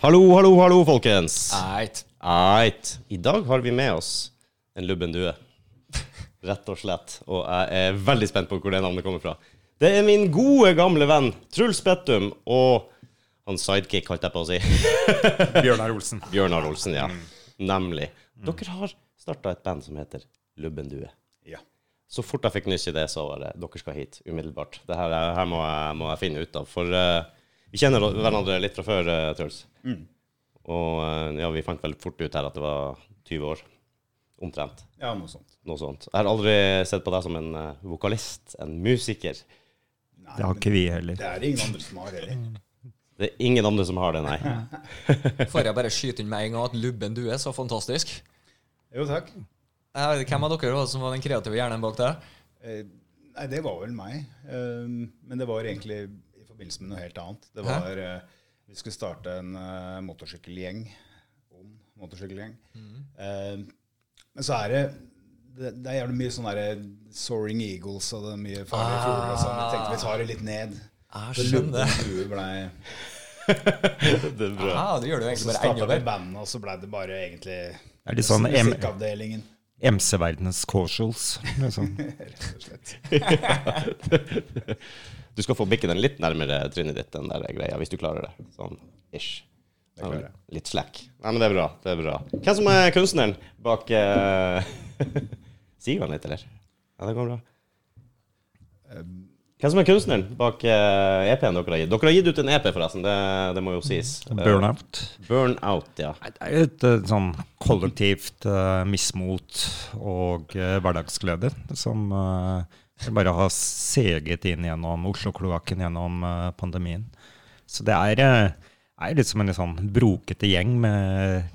Hallo, hallo, hallo, folkens. Eit. Eit. I dag har vi med oss en lubben due. Rett og slett. Og jeg er veldig spent på hvor det navnet kommer fra. Det er min gode, gamle venn Truls Bettum og hans sidekick, holdt jeg på å si. Bjørnar Olsen. Bjørnar Olsen, ja. Nemlig. Dere har starta et band som heter Lubben due. Ja. Så fort jeg fikk nyss i det, så var det dere skal hit umiddelbart. Det her, er- her må, jeg, må jeg finne ut av. For eh, vi kjenner hverandre litt fra før, eh, Truls. Og eh, ja, vi fant vel fort ut her at det var 20 år. Omtrent. Ja, noe sånt. Noe sånt. Jeg har aldri sett på deg som en eh, vokalist, en musiker. Nei, Det har ikke vi heller. det er ingen andre som har heller. Det er ingen andre som har det, nei. Får jeg bare skyte inn med en gang at lubben du er så fantastisk? Jo, takk. Jeg vet ikke Hvem av dere var det som var den kreative hjernen bak det? Eh, Nei, det var vel meg. Um, Men det var egentlig i forbindelse med noe helt annet. Det Hæ? var eh, Vi skulle starte en eh, motorsykkelgjeng. Om motorsykkelgjeng. Eh, Men så er det det, det er jævlig mye sånn derre Soaring Eagles og det er mye farlige fugler og sånn. Jeg tenkte vi tar det litt ned. Jeg Så Ah, skjønner. Lubben Due blei- Det er bra. Ja, det gjør du Så egentlig bare starta enda vi bedre. bandet, og så blei det bare egentlig Det er litt sånn M musikkavdelingen, MC-verdenes casuals. Liksom. rett og slett. Du skal få bikke den litt nærmere trynet ditt, den der greia, hvis du klarer det. Sånn ish. Ja, klarer jeg. Litt slack. Nei, men det er bra. det er bra. Hvem som er kunstneren bak eh, Sier du han litt, eller? Ja, det går bra. Hvem som er kunstneren bak eh, EP-en dere har gitt? Dere har gitt ut en EP, forresten. Det, det må jo sies. Eh, Burnout. Burnout, ja. Nei, Det er jo et eh, sånn kollektivt eh, mismot og eh, hverdagsglede som eh, bare har seget inn gjennom Oslo-kloakken gjennom eh, pandemien. Så det er, eh, er litt som en litt sånn brokete gjeng med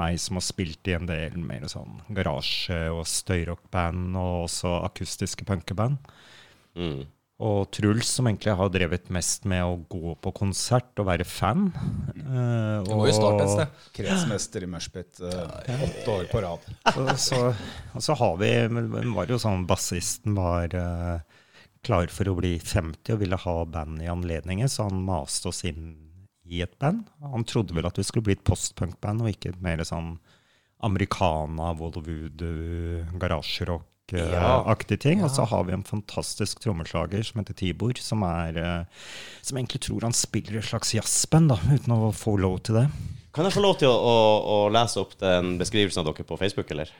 meg som har spilt i en del mer sånn garasje- og støyrockband og også akustiske punkeband. Mm. Og Truls, som egentlig har drevet mest med å gå på konsert og være fan. eh, Du må jo starte et sted. Kretsmester i Mushpit eh, åtte år på rad. Og så, og så har vi men var det jo sånn Bassisten var eh, klar for å bli 50 og ville ha band i anledningen, så han maste oss inn i et band. Han trodde vel at vi skulle bli et postpunk-band og ikke mer sånn americana, Wollywood, garasjerock-aktig ting. Og så har vi en fantastisk trommeslager som heter Tibor, som, er, eh, som egentlig tror han spiller et slags jazzband, da, uten å få lov til det. Kan jeg få lov til å, å, å lese opp den beskrivelsen av dere på Facebook, eller?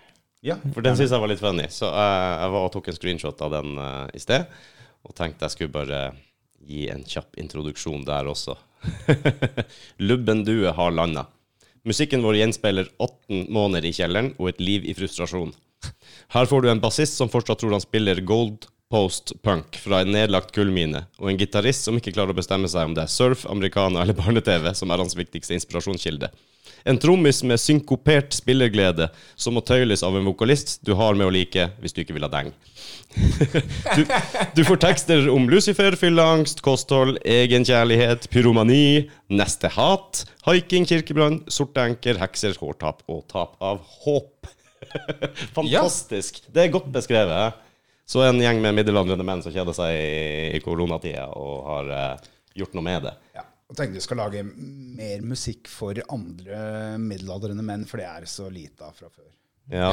Ja, For den syns jeg var litt funny. Så eh, jeg var og tok en screenshot av den eh, i sted, og tenkte jeg skulle bare gi en kjapp introduksjon der også. Lubben due har landa. Musikken vår gjenspeiler 18 måneder i kjelleren og et liv i frustrasjon. Her får du en bassist som fortsatt tror han spiller gold post punk fra en nedlagt gullmine, og en gitarist som ikke klarer å bestemme seg om det er surf, americana eller barne-TV som er hans viktigste inspirasjonskilde. En trommis med synkopert spillerglede som må tøyles av en vokalist du har med å like hvis du ikke vil ha deng. Du, du får tekster om Lucifer, fylleangst, kosthold, egenkjærlighet, pyromani, neste hat, haiking, kirkebrann, sorte enker, hekser, hårtap og tap av håp. Fantastisk! Det er godt beskrevet. eh. Så en gjeng med middelaldrende menn som kjeder seg i, i koronatida og har eh, gjort noe med det. ja. Og tenkte vi skal lage mer musikk for andre middelaldrende menn, for det er så lite av fra før. Ja,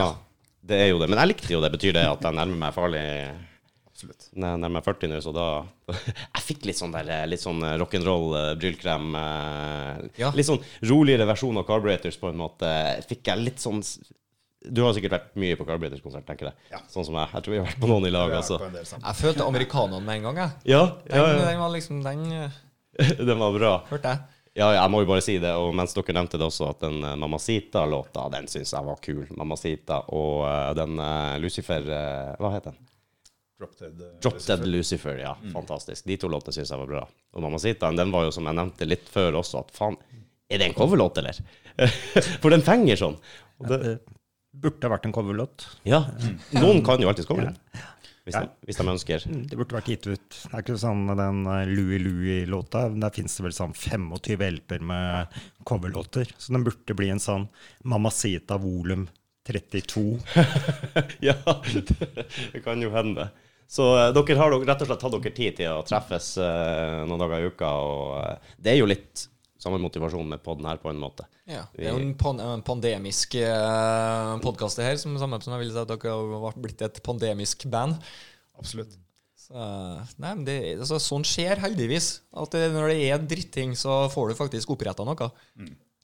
det er jo det. Men jeg likte jo det. Betyr det at jeg nærmer meg farlig Absolutt. Når jeg nærmer meg 40 nå, så da Jeg fikk litt sånn der, eh, litt sånn eh, rock'n'roll, eh, brylkrem eh, Ja. Litt sånn roligere versjon av Carburetors, på en måte. Fikk jeg litt sånn s- Du har sikkert vært mye på Carburetors-konsert, tenker jeg. Ja. Sånn som jeg. Jeg tror vi har vært på noen i lag, Vi har altså. vært på en del sånn sammen. Jeg følte amerikanerne med en gang, jeg. Ja, Den, ja, ja. den var liksom Den eh, Den var bra. hørte jeg. Ja, ja, jeg må jo bare si det. Og mens dere nevnte det også, at den eh, Mamacita-låta, den syns jeg var kul. Mamacita og eh, den eh, Lucifer eh, Hva het den? Drop Dead. eh, Drop Dead Lucifer, ja. Fantastisk. De to låtene syns jeg var bra. Og Mamacitaen, den var jo som jeg nevnte litt før også, at faen, er det en coverlåt, eller? For den fenger sånn. Og det, Mm. Det Eh, burde vært en coverlåt. ja. Noen kan jo alltids coveren. Hvis, de- hvis de ønsker. Mm, Det burde vært gitt ut. Det er ikke sånn den eh, Louie Louie-låta. Der fins det vel sånn 25 LP-er med coverlåter. Så den burde bli en sånn Mamacita volum 32. Ja, det kan jo hende. Så eh, dere har dok- rett og slett tatt dere tid til å treffes eh, noen dager i uka, og eh, det er jo litt samme motivasjon med podden her, på en måte. Ja, Det er jo en, pan en pandemisk eh, podkast her, som samme som jeg vil si at dere har vært- blitt et pandemisk band. Absolutt. Så, nei, men det, altså, sånn skjer heldigvis. At det, når det er dritting, så får du faktisk oppretta noe.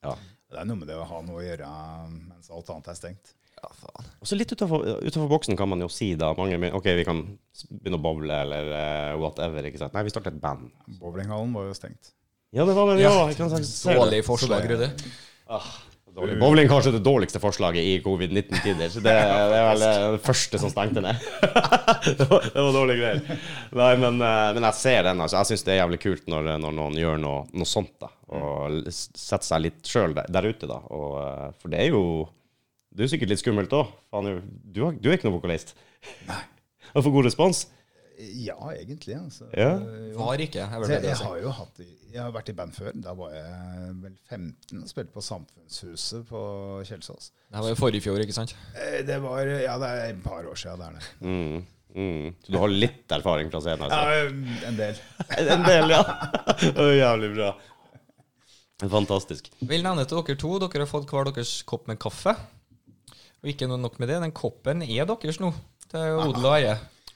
Ja. Det er noe med det å ha noe å gjøre mens alt annet er stengt. Ja, faen. Og så litt utenfor, utenfor boksen kan man jo si da mange, men- Ok, vi kan s- begynne å bowle eller eh, whatever. ikke sant? Nei, vi starter et band. Bowlinghallen var jo stengt. Ja, det var det. Ja, ikke sant? Ser du? Dårlig forslag, Rudi. Ah, Dårlig. Bowling er kanskje det dårligste forslaget i covid-19-tider. så Det, det er vel eh, det første som stengte ned. det, var, det var dårlige greier. Nei, men, eh, men jeg ser den. altså. Jeg syns det er jævlig kult når, eh, når noen gjør noe, noe sånt. da, Og l- s- setter seg litt sjøl der, der ute, da. Og, eh, for det er jo Det er jo sikkert litt skummelt òg. Du, har- du er ikke noen vokalist. Nei. Og får god respons. Ja, egentlig. Altså. Ja. Var ikke. altså. Så Jeg, vil jeg, bare jeg si. har jo hatt, jeg har vært i band før. Da var jeg vel 15 og spilte på Samfunnshuset på Kjelsås. Det her var jo forrige fjor, ikke sant? Eh, Det var Ja, det er et par år siden det er det. Mm, mm. Så du har litt erfaring fra scenen? Altså. Ja, eh, en del. En del, ja. Det var Jævlig bra. Fantastisk. Vil nevne til dere to, dere har fått hver deres kopp med kaffe. Og ikke noe nok med det, den koppen er deres nå. Det er jo odel og eie.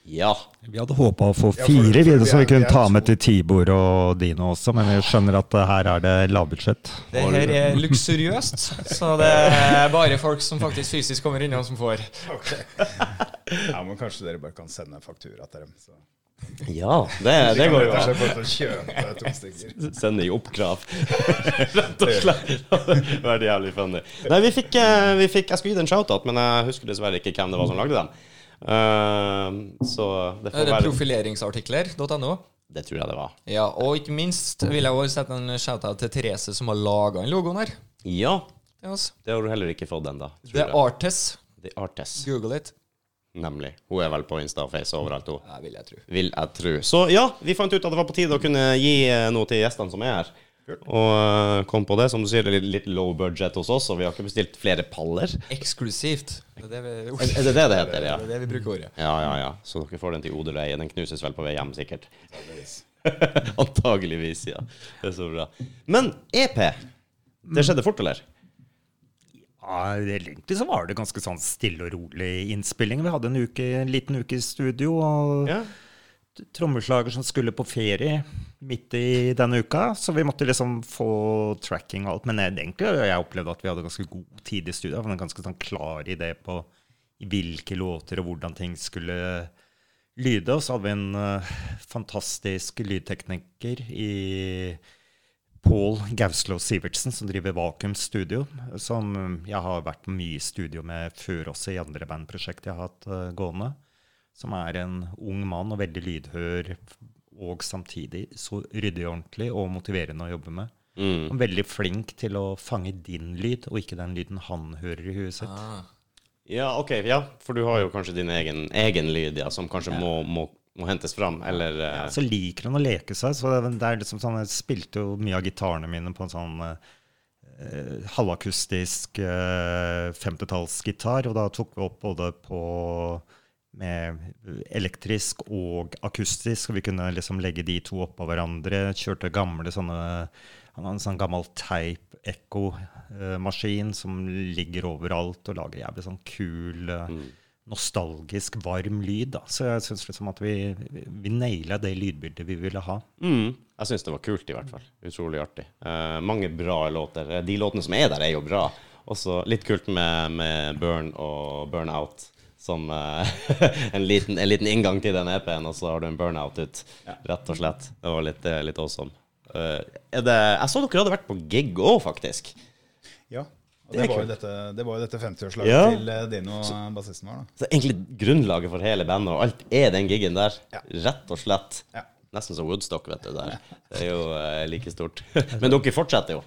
Ja. Vi hadde håpa å få for- fire videre, så for- vi kunne jeg- ta med til Tibor og Dino også, men vi skjønner at eh, her er det lavbudsjett. Det her er luksuriøst, så det er bare folk som faktisk fysisk kommer innom, som får. Ja, men kanskje dere bare kan sende faktura til dem. Så. Ja, det, det går jo Kanskje an. jeg får kjøpe to stykker. Sende i oppkrav, rett og slett. Det hadde vært jævlig funny. Nei, vi fikk, eh, vi fikk Jeg skulle gi det en shout-out, men jeg husker dessverre ikke hvem det var som lagde den. Eh, så det Det får er være Profileringsartikler.no. Det tror jeg det var. Ja, og ikke minst vil jeg også sette en shout-out til Therese, som har laga den logoen her. Ja. Det er oss. Det har du heller ikke fått ennå. Det er Artes. The Artist. Google it. Nemlig. Hun er vel på Insta og Face overalt, hun. Det vil jeg tro. Vil jeg tro. Så ja, vi fant ut at det var på tide å kunne gi eh, noe til gjestene som er her. Og eh, kom på det. Som du sier, det er litt, litt low budget hos oss, og vi har ikke bestilt flere paller. Eksklusivt. Det er det vi, Er, er det det det heter? Ja. det er det vi bruker ordet. Ja, ja, ja. Så dere får den til odel og eie. Den knuses vel på vei hjem, sikkert. Antageligvis, ja. Det er så bra. Men EP, det skjedde fort, eller? Ja, egentlig så var det ganske sånn stille og rolig innspilling. Vi hadde en, uke, en liten uke i studio, og Ja. trommeslager som skulle på ferie midt i denne uka, så vi måtte liksom få tracking og alt. Men jeg, egentlig, jeg opplevde at vi hadde ganske god tid i studio. Vi hadde en ganske sånn klar idé på hvilke låter og hvordan ting skulle lyde. Og så hadde vi en eh, fantastisk lydtekniker i Pål Gauslå Sivertsen, som driver Vakuum Studio, som jeg har vært mye i studio med før også i andre bandprosjekt jeg har hatt eh, gående. Som er en ung mann og veldig lydhør, og samtidig så ryddig og ordentlig og motiverende å jobbe med. Og veldig flink til å fange din lyd, og ikke den lyden han hører i huet sitt. Ja, OK. Ja, for du har jo kanskje din egen, egen lyd, ja, som kanskje må, må, må hentes fram, eller eh, Så liker han å leke seg. Så det, er- det er liksom sånn, Jeg spilte jo mye av gitarene mine på en sånn eh, halvakustisk eh, 50-tallsgitar, og da tok vi opp både på med elektrisk og akustisk, og vi kunne liksom legge de to oppå hverandre. Kjørte gamle sånne Han har en sånn gammel teip-ekko-maskin som ligger overalt og lager jævlig sånn kul eh, nostalgisk, varm lyd. Da. Så jeg syns liksom at vi, vi naila det lydbildet vi ville ha. Mm. Jeg syns det var kult, i hvert fall. Utrolig artig. Eh, mange bra låter. Eh, De låtene som er der, er jo bra. Også litt kult med, med Burn og Burnout som eh, en, liten, en liten inngang til den EP-en, og så har du en burnout ut, rett og slett. Det var litt, eh, litt awesome. Eh, er det, jeg så dere hadde vært på gig òg, faktisk. Ja, Det Og det, er var jo kult. dette, det var jo dette 50-årslaget Ja. til eh, Dino, eh, bassisten vår. Så egentlig grunnlaget for hele bandet og alt er den giggen der. Ja. Rett og slett. da. Ja. Nesten som Woodstock, vet du. Der. Det er jo eh, like stort. Men dere fortsetter jo.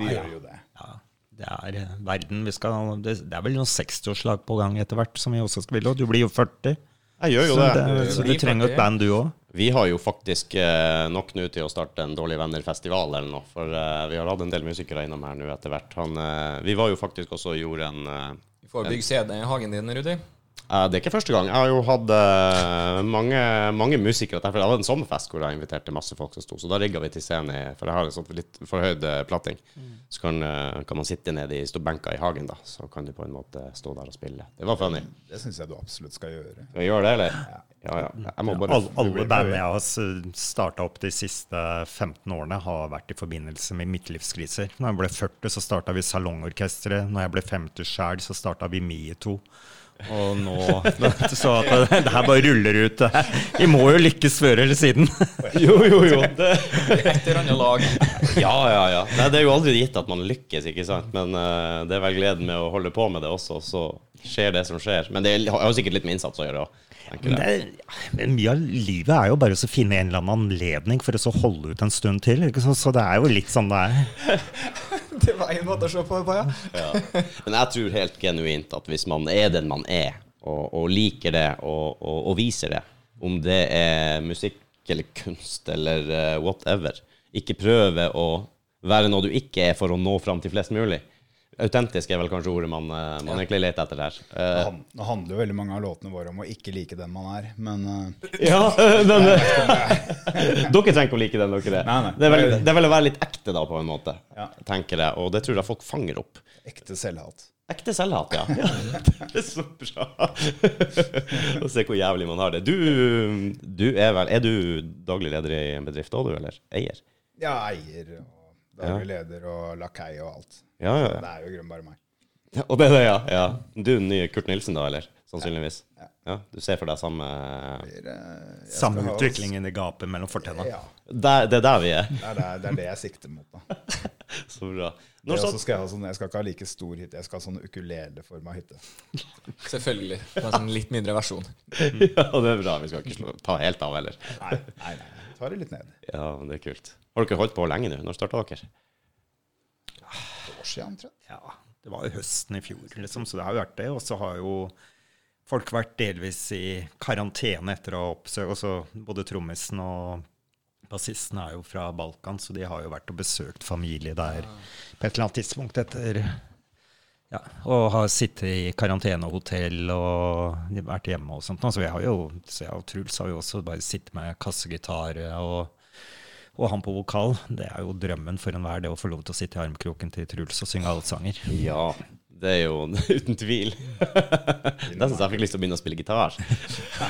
Vi gjør jo det. Ja, det er eh, verden vi skal Det, det er vel noen 60-årslag på gang etter hvert, som vi også skal ville. Og du blir jo 40. Jeg gjør Så, Sånn det, det. så du trenger jo et band, du òg. Vi har jo faktisk eh, nok nå til å starte en Dårlige venner-festival eller noe. For eh, vi har hatt en del musikere innom her nå etter hvert. Han, eh, vi var jo faktisk også og gjorde en eh, Du får bygge CD i hagen din, Rudi. Eh, det er ikke første gang. Jeg har jo hatt eh, mange, mange musikere. Derfor jeg hadde en sommerfest hvor jeg inviterte masse folk som sto. Så da rigga vi til scenen, i- for jeg har en sånn litt forhøyd eh, platting. Så kan, eh, kan man sitte nede i ståbenka i hagen, da. Så kan du på en måte stå der og spille. Det var funny. Det syns jeg du absolutt skal gjøre. Skal vi gjøre det, eller? Ja, ja. Jeg må bare Alle, alle bandene jeg har starta eh, opp de siste 15 årene, har vært i forbindelse med midtlivskriser. Når jeg ble 40, så starta vi Salongorkesteret. Når jeg ble 50 sjæl, så starta vi Mieto. Og nå Så at eh, det, det her bare ruller ut. det her. Vi må jo lykkes før eller siden. Jo, jo, jo. Et eller annet lag. Ja, ja, ja. Nei, det er jo aldri gitt at man lykkes, ikke sant. Men eh, det er vel gleden med å holde på med det også, så skjer det som skjer. Men det har jo sikkert litt med innsats å gjøre òg, tenker Men jeg. det, er- men mye av livet er jo bare å så finne en eller annen anledning for å så holde ut en stund til. Ikke? sant? så det er jo litt sånn det er. Det var en måte å se på det på, ja. Ja. Men jeg tror helt genuint at hvis man er den man er, og, og liker det, og, og, og viser det, om det er musikk eller kunst eller eh, whatever, ikke prøve å være noe du ikke er for å nå fram til flest mulig. Autentisk er vel kanskje ordet man, eh, man egentlig leter etter her. Det Eh, han- det handler jo veldig mange av låtene våre om å ikke like den man er, men eh, ja, men Dere trenger ikke å like den, dere. Nei, nei. Det, er vel, det er vel å være litt ekte, da, på en måte, Ja. tenker jeg. Og det tror jeg folk fanger opp. ekte selvhat. Ekte selvhat, ja. Det er så bra. Å se hvor jævlig man har det. Du, du er vel Er du daglig leder i en bedrift òg, du, eller? Eier? Ja, eier og daglig leder og lakei og alt. Ja, ja, Det er jo i grunnen bare meg. ja. Og det er det, ja. ja. Du den nye Kurt Nilsen, da, eller? Sannsynligvis. Ja, Du ser for deg samme Det er, eh, jeg skal Samme ha- utviklingen i gapet mellom fortenna. Ja, der, Det er der vi er. det er det, det er det jeg sikter mot, da. Så bra. Det Når er også satt skal jeg, ha sånn, jeg skal ikke ha like stor hytte, jeg skal ha sånn ukuleleforma hytte. Selvfølgelig. På en sånn litt mindre versjon. sånn- Ja, det er bra. Vi skal ikke slå, ta helt av, heller. Nei, nei, nei. Ta det litt ned. Ja, men det er kult. Har dere holdt på lenge nå? Når starta dere? Et år siden, omtrent. ja, det var jo høsten i fjor, liksom, så det har jo vært det. Og så har jo folk vært delvis i karantene etter å ha oppsøkt også Både trommisen og bassisten er jo fra Balkan, så de har jo vært og besøkt familie der på et eller annet tidspunkt etter ja, Og har sittet i karantenehotell og vært hjemme og sånt. nå, Så vi har jo, så jeg og Truls har jo også bare sittet med kassegitar og og han på vokal, det er jo drømmen for enhver, det å få lov til å sitte i armkroken til Truls og synge allsanger. Ja, det er jo uten tvil. Da syns jeg fikk lyst til å begynne å spille gitar.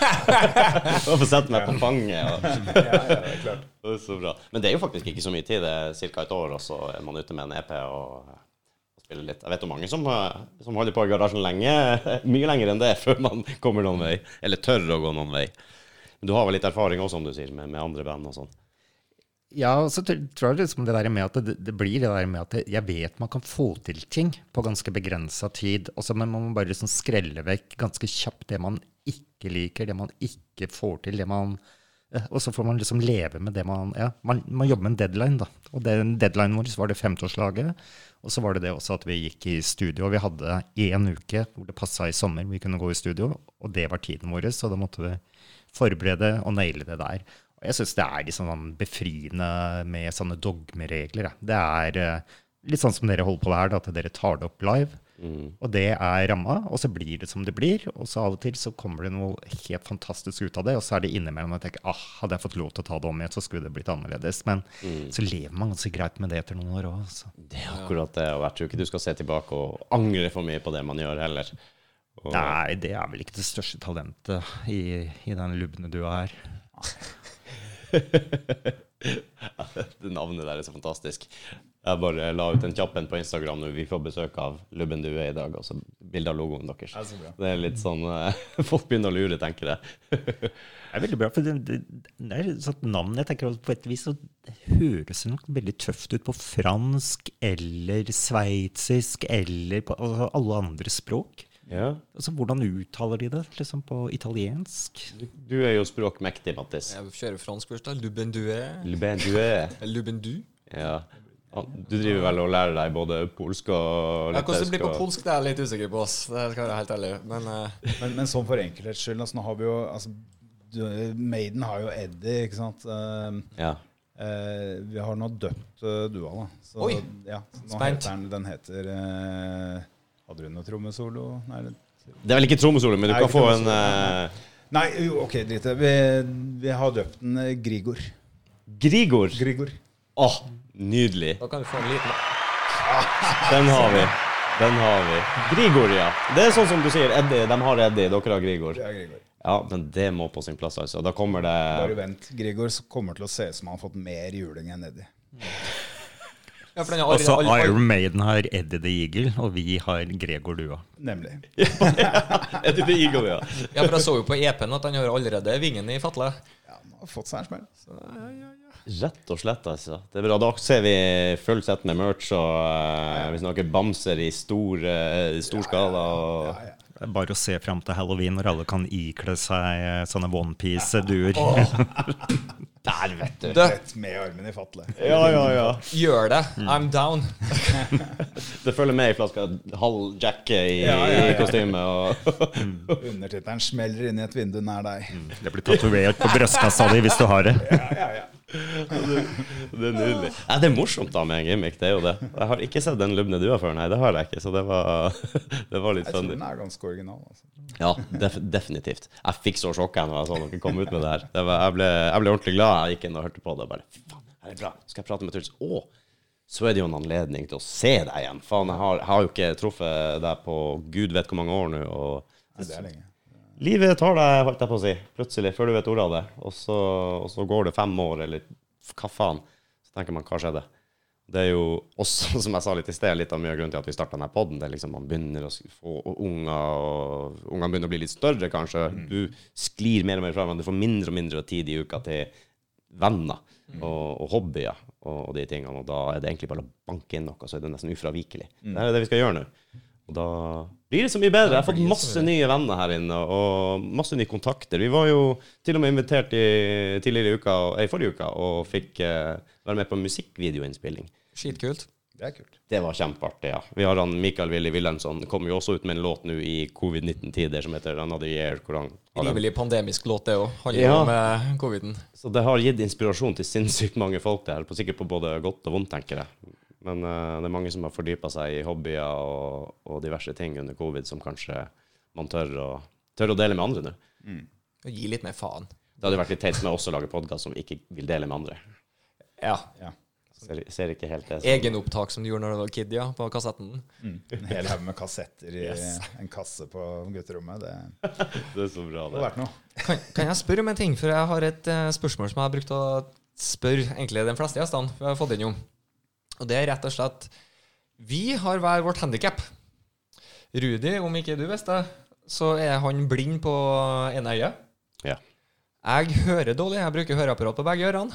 Og få sette meg på fanget. Og. Det er Så bra. Men det er jo faktisk ikke så mye tid. Det er ca. et år, og så er man ute med en EP og, og spiller litt. Jeg vet om mange som, eh, som holder på i garasjen lenge, mye lenger enn det, før man kommer noen vei. Eller tør å gå noen vei. Men du har vel litt erfaring også, som du sier, med, med andre band og sånn. Ja, og så tr- tror jeg liksom det der med at det, det blir det der med at det- jeg vet man kan få til ting på ganske begrensa tid, og så men man må bare liksom skrelle vekk ganske kjapt det man ikke liker, det man ikke får til, det man eh, Og så får man liksom leve med det man Ja, man, man jobber med en deadline, da. Og den deadlinen vår så var det femteårslaget, og så var det det også at vi gikk i studio. Og vi hadde én uke hvor det passa i sommer, vi kunne gå i studio, og det var tiden vår, så da måtte vi forberede og naile det der. Og jeg syns det er liksom sånn befriende med sånne dogmeregler. jeg. Det er eh, litt sånn som dere holder på her, da, at dere tar det opp live. Og det er ramma, og så blir det som det blir. Og så av og til så kommer det noe helt fantastisk ut av det, og så er det innimellom jeg tenker ah, hadde jeg fått lov til å ta det om igjen, så skulle det blitt annerledes. Men så lever man ganske greit med det etter noen år òg. Det er akkurat det. Og jeg tror ikke du skal se tilbake og angre for mye på det man gjør, heller. Og- Nei, det er vel ikke det største talentet i, i den lubne dua her. Det navnet der er så fantastisk. Jeg bare la ut en kjapp en på Instagram når vi får besøk av Lubben Due i dag, og så bilde av logoen deres. Ja, så bra. Det er litt sånn eh, Folk begynner å lure, tenker jeg. Det er veldig bra, for det, det, det er et sånt navn jeg tenker at på et vis så høres det nok veldig tøft ut på fransk eller sveitsisk eller på altså, alle andre språk. ja. Altså, hvordan uttaler de det liksom på italiensk? du, du er jo språkmektig, Mattis. Jeg kjører fransk først, da. Lubendue. Lubben Due. Lubendu. Ja. Ah, Du driver vel og lærer deg både polsk og Ja, hvordan det blir på og- polsk, det er jeg litt usikker på. ass. Det skal jeg være helt ærlig. Men eh, Men, men sånn for enkelhets skyld altså, nå har vi jo, altså, du- Maiden har jo Eddie, ikke sant? Ehm, Ja. eh, vi har nå døpt eh, Dua, da. Så, Oi! Ja, så nå Spent. heter den, den heter eh, Hadde du noe trommesolo? Nei, det- Det er vel ikke trommesolo, men du Nei, kan ikke få en trommesolo, eh, Nei, jo, ok, drit i det. Vi, vi har døpt den eh, Grigor. Grigor. Grigor. Åh, nydelig. da kan vi få en liten Den har vi. Den har vi. Grigor, ja. Det er sånn som du sier, Eddie. De har Eddie, dere har Grigor. Det er Grigor. Ja, men det må på sin plass, altså. Da kommer Bare det vent. Grigor så kommer til å se ut som han har fått mer juling enn Eddie. Ja, for den har Altså, aldri- aldri- Iron Maiden har Eddie the Eagle, og vi har Gregor Dua. Nemlig. Eddie the Eagle, ja. Ja, for jeg så jo på EP-en at han har allerede vingen i fatle. Ja, han har fått seg en smell. Rett og slett, altså. Det er bra. Da ser vi fullt sett med merch, og eh, vi snakker bamser i stor, eh, stor skala. Og Ja, ja. Det er Bare å se fram til halloween når alle kan ikle seg eh, sånne onepiece-duer. der, vet du. Du, Rett med armen i fatle. Ja, ja, ja. gjør det. Mm. I'm down. Det følger med ei flaske halv jack i, Ja, ja, ja. i kostyme. Og Undertittelen smeller inn i et vindu nær deg. Det blir tatovert på brystkassa di hvis du har det. Ja, ja, ja. det er nydelig. Nei, det er morsomt da med en gimmick, det er jo det. Jeg har ikke sett den lubne dua før, nei. Det har jeg ikke, så det var, det var litt Jeg tror funny. den er ganske original. Altså. Ja, def definitivt. Jeg fikk så sjokk jeg når jeg så dere kom ut med det her. Det var, jeg, ble, jeg ble ordentlig glad. Jeg gikk inn og hørte på det. og Bare, faen, her er det bra. Skal jeg prate med Truls? Å, så er det jo en anledning til å se deg igjen. Faen, jeg har, jeg har jo ikke truffet deg på gud vet hvor mange år nå. Og Nei, det er lenge. livet tar deg, holdt jeg på å si, plutselig, før du vet ordet av det. Og så, og så går det fem år, eller f- hva faen. Så tenker man, hva skjedde? Det er jo også, som jeg sa litt i sted, litt av mye av grunnen til at vi starta denne poden. Det er liksom man begynner å sk- få og unger, og ungene begynner å bli litt større, kanskje. Du sklir mer og mer fra hverandre. Du får mindre og mindre tid i uka til venner og, og hobbyer og, og de tingene. Og da er det egentlig bare å banke inn noe, så er det nesten ufravikelig. Det er det vi skal gjøre nå. Og da blir det så mye bedre. Jeg har fått masse nye venner her inne, og masse nye kontakter. Vi var jo til og med invitert i, tidligere i uka, eh, i forrige uke og fikk eh, være med på musikkvideoinnspilling. Skitkult. Det er kult. Det var kjempeartig, ja. Vi har han Mikael Willy Wilhelmsson, kommer jo også ut med en låt nå i covid-19-tider som heter 'Another Year'. Hvor han har den. Rimelig pandemisk låt, det òg. Handler Ja. om eh, coviden. Så det har gitt inspirasjon til sinnssykt mange folk der, på- sikkert på både godt og vondt, tenker jeg. Men eh, det er mange som har fordypa seg i hobbyer og, og diverse ting under covid, som kanskje man tør å, tør å dele med andre nå. Gi litt mer faen. Det hadde vært litt teit med oss å lage podkast som vi ikke vil dele med andre. Ja. Ja. Ser, ser ikke helt det. som- Egenopptak som du gjorde når du var kid, ja, på kassetten. En hel haug med kassetter i Yes. en kasse på gutterommet. Det Det er så bra, hadde det. vært noe. Kan, kan jeg spørre om en ting? For jeg har et eh, spørsmål som jeg har brukt å spørre egentlig de fleste gjestene vi har fått innom. Og det er rett og slett Vi har hver vårt handikap. Rudi, om ikke du visste det, så er han blind på ene øyet. Ja. Jeg hører dårlig. Jeg bruker høreapparat på begge ørene.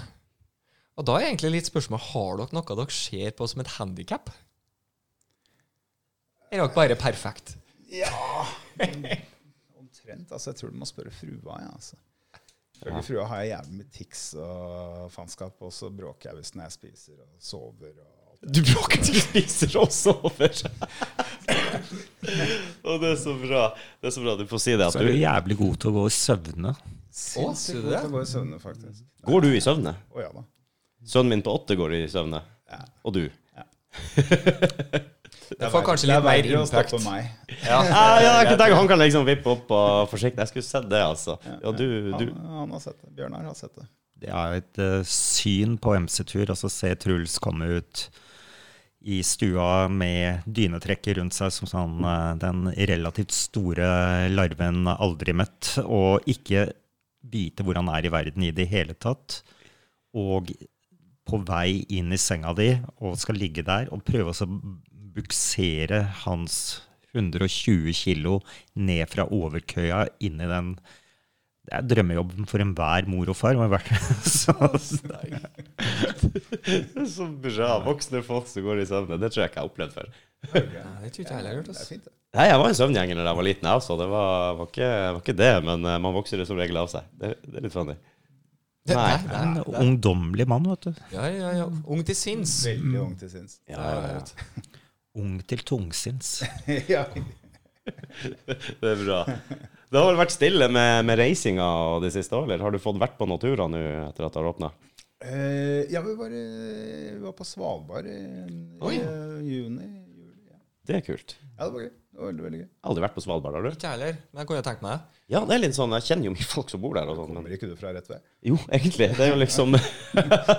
Og da er egentlig litt spørsmål Har dere noe dere ser på som et handikap? Er dere bare perfekt? Ja, omtrent. Altså, jeg tror du må spørre frua. Ja, altså. Ifølge frua har jeg jævlig mye tics og faenskap, og så bråker jeg hvis når jeg spiser og sover. og alt. Du bråker til du spiser og sover. og det er så bra. Det er så bra. Du får si det. at Så er du du, jævlig god til å gå i søvne. sier Sinnssykt du godt å det? gå i søvne, faktisk. Går du i søvne? Å ja da. Sønnen min på åtte går i søvne. Og du? Det får kanskje litt Det mer er verre å impact. stoppe meg. Ja, ja, jeg kunne tenke, han kan liksom vippe opp og forsiktig. Jeg skulle sett det, altså. Ja, du, du. Han, han har sett det. Bjørnar har sett det. Det er et eh, syn på MC-tur, altså se Truls komme ut i stua med dynetrekket rundt seg som sånn eh, den relativt store larven aldri møtt, og ikke vite hvor han er i verden i det hele tatt. Og på vei inn i senga di og skal ligge der og prøve å så buksere hans 120 kilo ned fra overkøya inn i den Det er drømmejobben for enhver mor og far. må jeg være- Så, Så bra voksne folk som går i søvne. Det tror jeg ikke jeg har opplevd før. Nei, det tror ikke jeg heller jeg har altså. gjort. Det er ass. fint, det. Nei, jeg var en søvngjenger da jeg var liten, jeg også. Det var, var, ikke, var ikke det. Men eh, man vokser det som regel av seg. Det, det er litt funny. Det- Nei. nei, en ungdommelig mann, vet du. Ja, ja, ja. Ung til sinns. Veldig ung til sinns. Ja, ja, ja. Ung til tungsinns. ja. Det er bra. Det har vel vært stille med, med reisinga det siste året, eller har du fått vært på noen turer nå etter at det har åpna? Eh, ja, vi var, eh, vi var på Svalbard i, Oi. i eh, juni. Juli, ja. Det er kult. ja, det var gøy. Det var veldig, veldig gøy. Aldri vært på Svalbard, har du? Ikke jeg heller, men jeg kunne tenkt meg det. Ja, det er litt sånn, jeg kjenner jo mye folk som bor der og sånn, men Kommer ikke du fra rett ved? Jo, egentlig. Det er jo liksom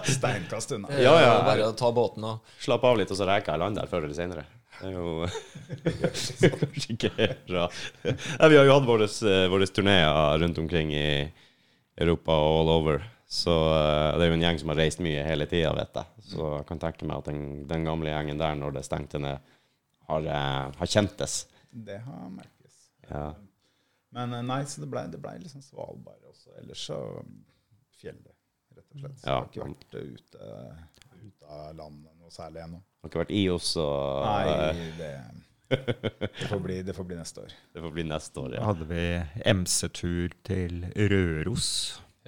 Steinkast unna. Ja, ja. Det er Bare å ta båten og Slapp av litt, og så reker jeg land der før eller senere. Det er jo kanskje ikke bra. Nei, vi har jo hatt våre, våre turneer rundt omkring i Europa og all over. Så eh, det er jo en gjeng som har reist mye hele tida, vet jeg. Så jeg kan tenke meg at den, den gamle gjengen der, når det stengte ned, har, eh, har kjentes. Det har merkes. Ja. Men eh, nei, så det blei ble liksom Svalbard også. Ellers så mm, fjellet, rett og slett. Så Ja. jeg har ikke vært ute, ute av landet noe særlig ennå. Har ikke vært i oss, så eh, Nei, det, det, får bli, det får bli neste år. det får bli neste år, Da ja. hadde vi MC-tur til Røros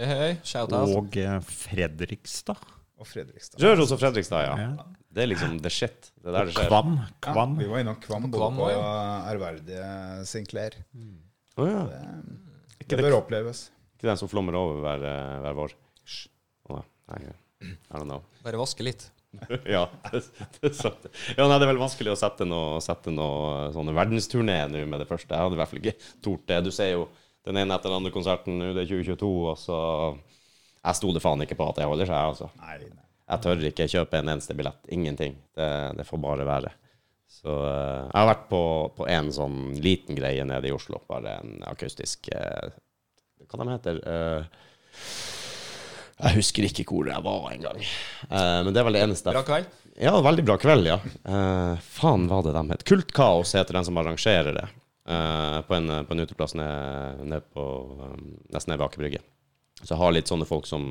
Hei, hei. Shout out. og eh, Fredrikstad. Og Fredrikstad. Røros og Fredrikstad, ja. Ja. Det er liksom the shit. Det er der det skjer. Kvam. Kvam. Ja, vi var innom Kvam, både Kvam på også, ærverdige Sinclair. Å ja. Det, Ikke det det bør oppleves. Ikke den som flommer over hver, eh, hver vår. Å, nei, I don't know. Bare vaske litt. ja, det, det er sant. Ja, nei, det er vel vanskelig å sette noe, sette noe eh, sånne verdensturné nå med det første. Jeg hadde i hvert fall ikke tort det. Du ser jo den ene etter den andre konserten nå, det er 2022, og så Jeg stoler faen ikke på at det holder seg, altså. Nei, nei. Jeg tør ikke kjøpe en eneste billett. Ingenting. Det, det får bare være. Så eh, jeg har vært på, på en sånn liten greie nede i Oslo, bare en akustisk eh, Hva de heter eh, Jeg husker ikke hvor jeg var engang. Uh, men det er vel det eneste. Bra kveld. Ja, veldig bra kveld, ja. Eh, faen, hva det de het? Kultkaos heter den som arrangerer det. eh, på, en, på en uteplass ned, ned på, um, nesten ned ved Aker Brygge. Så jeg har litt sånne folk som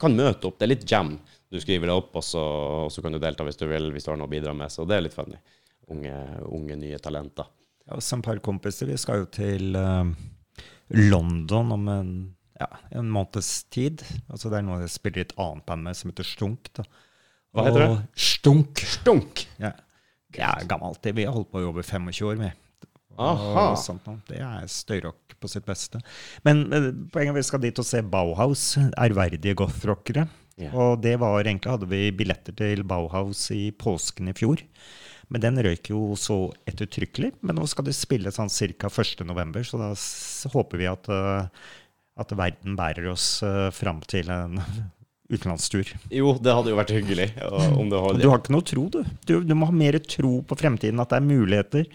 kan møte opp. Det er litt jam. Du skriver det opp, og så, og så kan du delta hvis du vil, hvis du har noe å bidra med. Så det er litt funny. Unge, unge nye talenter. Ja, og så et par kompiser. Vi skal jo til eh, London om en, ja, en måneds tid. Altså, det er noe jeg spiller i et annet band med som heter Stunk. Da. Hva heter Og Stunk. Stunk! Ja. Det er gammelt. det. Vi har holdt på i over 25 år, vi. Aha. Og sånt noe. Det er støyrock på sitt beste. Men eh, poenget er vi skal dit og se Bauhaus, ærverdige gothrockere. Ja. Og det var egentlig hadde vi billetter til Bauhaus i påsken i fjor. Men den røyk jo så ettertrykkelig. Men nå skal de spille sånn ca. 1.11., så da s- håper vi at, eh, at verden bærer oss uh, fram til en utenlandstur. Jo, det hadde jo vært hyggelig og- om det Du holder. har ikke noe tro, du. du. Du må ha mer tro på fremtiden, at det er muligheter.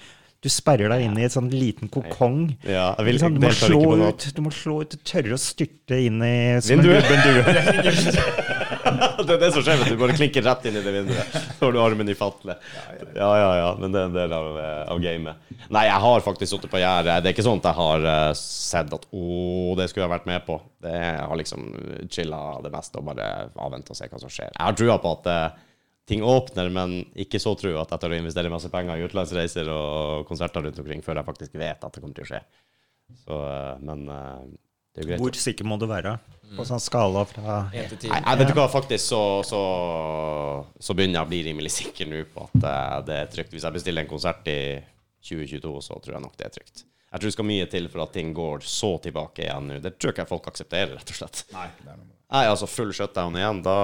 Du sperrer deg inn i en sånn liten kokong. Ja, jeg vil, Ikke sant? du, må deltar ikke slå på noe. ut, du må slå ut, tørre å styrte inn i som en Vinduet. lubben due. det er det som skjer, vet du. Bare klinker rett inn i det vinduet. Så har du armen i fatle. Ja, ja, ja. Men det er en del av, eh, av gamet. Nei, jeg har faktisk sittet på gjerdet. Det er ikke sånn at jeg har eh, sett at å, det skulle jeg vært med på. Det, jeg har liksom chilla det meste og bare avventa og se hva som skjer. Jeg har trua på at eh, ting åpner, men ikke så trua at jeg tør å investere masse penger i utenlandsreiser og konserter rundt omkring før jeg faktisk vet at det kommer til å skje. Så, eh, men eh, det er jo greit. Hvor sikker må du være? Mm. På sånn skala fra En til ti. Nei, jeg vet du hva, faktisk så, så, så begynner jeg å bli rimelig sikker nå på at eh, det er trygt. Hvis jeg bestiller en konsert i 2022, så tror jeg nok det er trygt. Jeg tror det skal mye til for at ting går så tilbake igjen nå. Det tror jeg ikke folk aksepterer, rett og slett. Nei, det er noe med det. Nei, altså full shutdown igjen, da,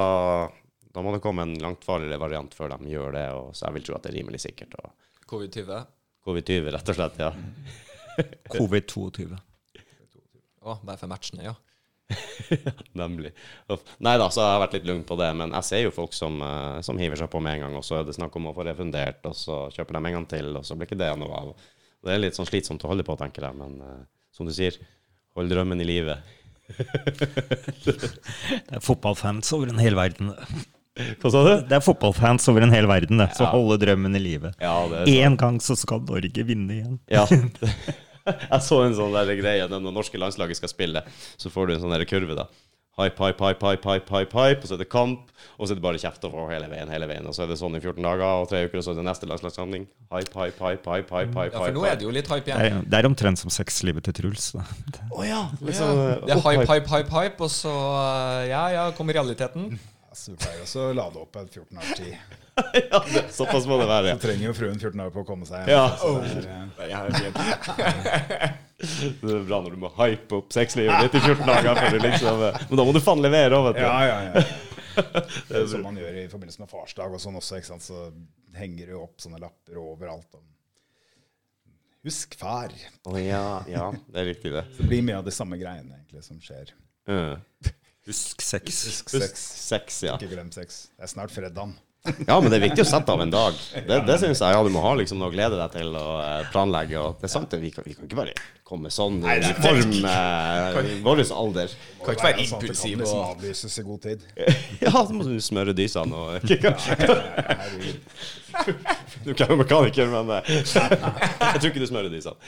da må det komme en langt farligere variant før de gjør det. Og, så jeg vil tro at det er rimelig sikkert. Og Covid-20. covid-20, rett og slett, ja. covid-22. Å, bare for matchene, ja. Nemlig. Nei da, så jeg har vært litt lugn på det, men jeg ser jo folk som, eh, som hiver seg på med en gang, og så er det snakk om å få refundert, og så kjøper de en gang til, og så blir ikke det noe av. Og Det er litt sånn slitsomt å holde på, tenker jeg, men eh, som du sier, hold drømmen i live. Det er fotballfans over den hele verden. Hva sa du? Det er fotballfans over en hel verden det, som Ja. holder drømmen i live. Ja, det er En gang så skal Norge vinne igjen. Ja. Jeg så en sånn der greie når det norske landslaget skal spille, så får du en sånn der kurve, da. Hype, hype, hype, hype, hype, hype, hype, og så er det kamp, og så er det bare kjeft over hele veien, hele veien. Og så er det sånn i 14 dager og tre uker, og så er det neste landslagssamling. Hype, hype, hype, hype, hype, hype. Ja, for nå er det jo litt hype Det igjen. er, det er omtrent som sexlivet til Truls. Da. Å ja! Ja, Liksom, det er hype, hype, hype, hype, og så eh, ja, ja, kommer realiteten. Altså, vi pleier også å lade opp en 14 års tid. ja, det- såpass må det være. Så trenger jo fruen 14 år på å komme seg hjem. Ja. Så det er, eh, Ja, det er fint. Det er bra når du må hype opp sexlivet ditt i 14 dager, for du liksom eh, Men da må du faen levere òg, vet du. eh, Ja, ja, ja. Det er jo sånn man gjør i forbindelse med farsdag og sånn også, ikke sant. Så henger det jo opp sånne lapper overalt. om Husk far. Å ja, ja. Det er riktig, det. Det blir mye av de samme greiene egentlig som skjer. Mm. Husk sex. Husk Sex. sex. Sex, ja. Ikke glem sex. Det er snart fredag. Ja, men det er viktig å sette av en dag. Det, det syns jeg. Ja, du må ha liksom noe å glede deg til og eh, planlegge. Og det er sant, det. Vi kan, vi kan ikke bare komme sånn i form eh, i vår alder. Kan Sånn at det ikke være kan impulsiv liksom og avlyses i god tid. Ja, så må du smøre dysene og Du er jo mekaniker, men eh, jeg tror ikke du smører dysene.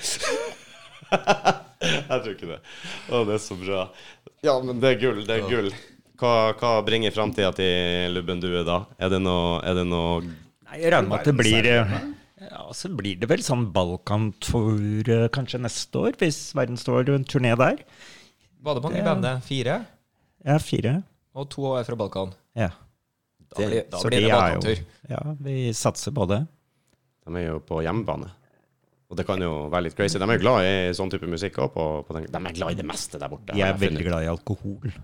Jeg tror ikke det. Å, det er så bra. Ja, men det er gull. Det er gull. Hva, hva bringer framtida til Lubben Due da? Er det noe, er det noe Nei, jeg regner med at det blir eh, ja, Så blir det vel sånn Balkantur eh, kanskje neste år, hvis verden står en turné der. Var det mange i bandet? Fire? Jeg er fire. Og to er fra Balkan. Ja. Da blir da Så blir de det er jo- Balkantur. Ja, vi satser på det. De er jo på hjemmebane. Og det kan jo være litt crazy. De er jo glad i sånn type musikk òg. De er glad i det meste der borte. Jeg er veldig glad i alkohol.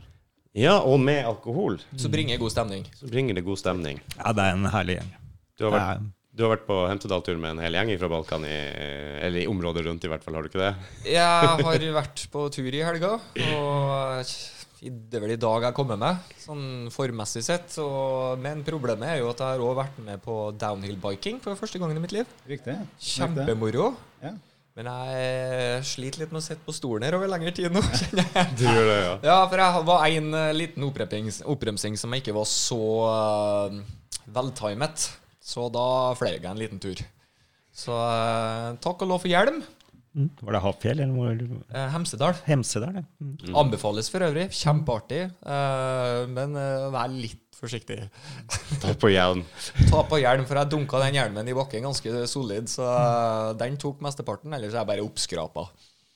Ja, og med alkohol Så bringer god stemning. så bringer det god stemning. Ja, det er en herlig gjeng. Du har vært, Det er- du har vært på Hemsedal-tur med en hel gjeng fra Balkan, i, eller i området rundt i hvert fall, har du ikke det? Jeg har vært på tur i helga, og i- det er vel i dag jeg kommer meg, sånn formmessig sett. Og, men problemet er jo at jeg har også vært med på downhill biking for første gangen i mitt liv. Riktig. Riktig. Kjempemoro. Ja. Men jeg sliter litt med å sitte på stolen her over lengre tid nå, kjenner jeg. Du gjør det, ja. Ja, for jeg var en eh, liten opprepings- oppremsing som ikke var så eh, veltimet. Så da fløy jeg en liten tur. Så eh, takk og lov for hjelm. Mm. Var det Hafjell eller hvor- Eh, Hemsedal. Hemsedal? det? Mm. Anbefales for øvrig. Kjempeartig. eh, men eh, vær litt forsiktig. Ta på hjelm. Ta på hjelm, for jeg dunka den hjelmen i bakken ganske solid, så eh, den tok mesteparten. Ellers er jeg bare oppskrapa.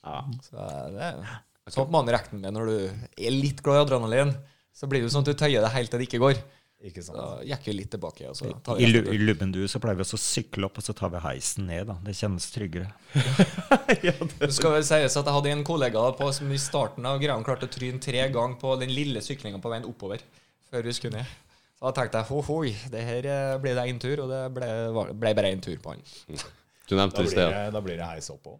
Ja. Så eh, det er sånn man regner med når du er litt glad i adrenalin. Så blir det jo sånn at du tøyer det helt til det ikke går. Ikke sant. Da gikk vi litt tilbake. altså. Og så tar I, vi lu resten. I Lubbendu så pleier vi også å sykle opp, og så tar vi heisen ned. da. Det kjennes tryggere. Det skal vel sies at jeg hadde en kollega på, som i starten av greia klarte å tryne tre ganger på den lille syklinga på veien oppover. Før vi skulle ned. Så da tenkte jeg ho, hoi, det her eh, blir det én tur, og det ble, var- ble bare én tur på han. Du Da nevnte det i blir sted. det, da blir det heis oppå.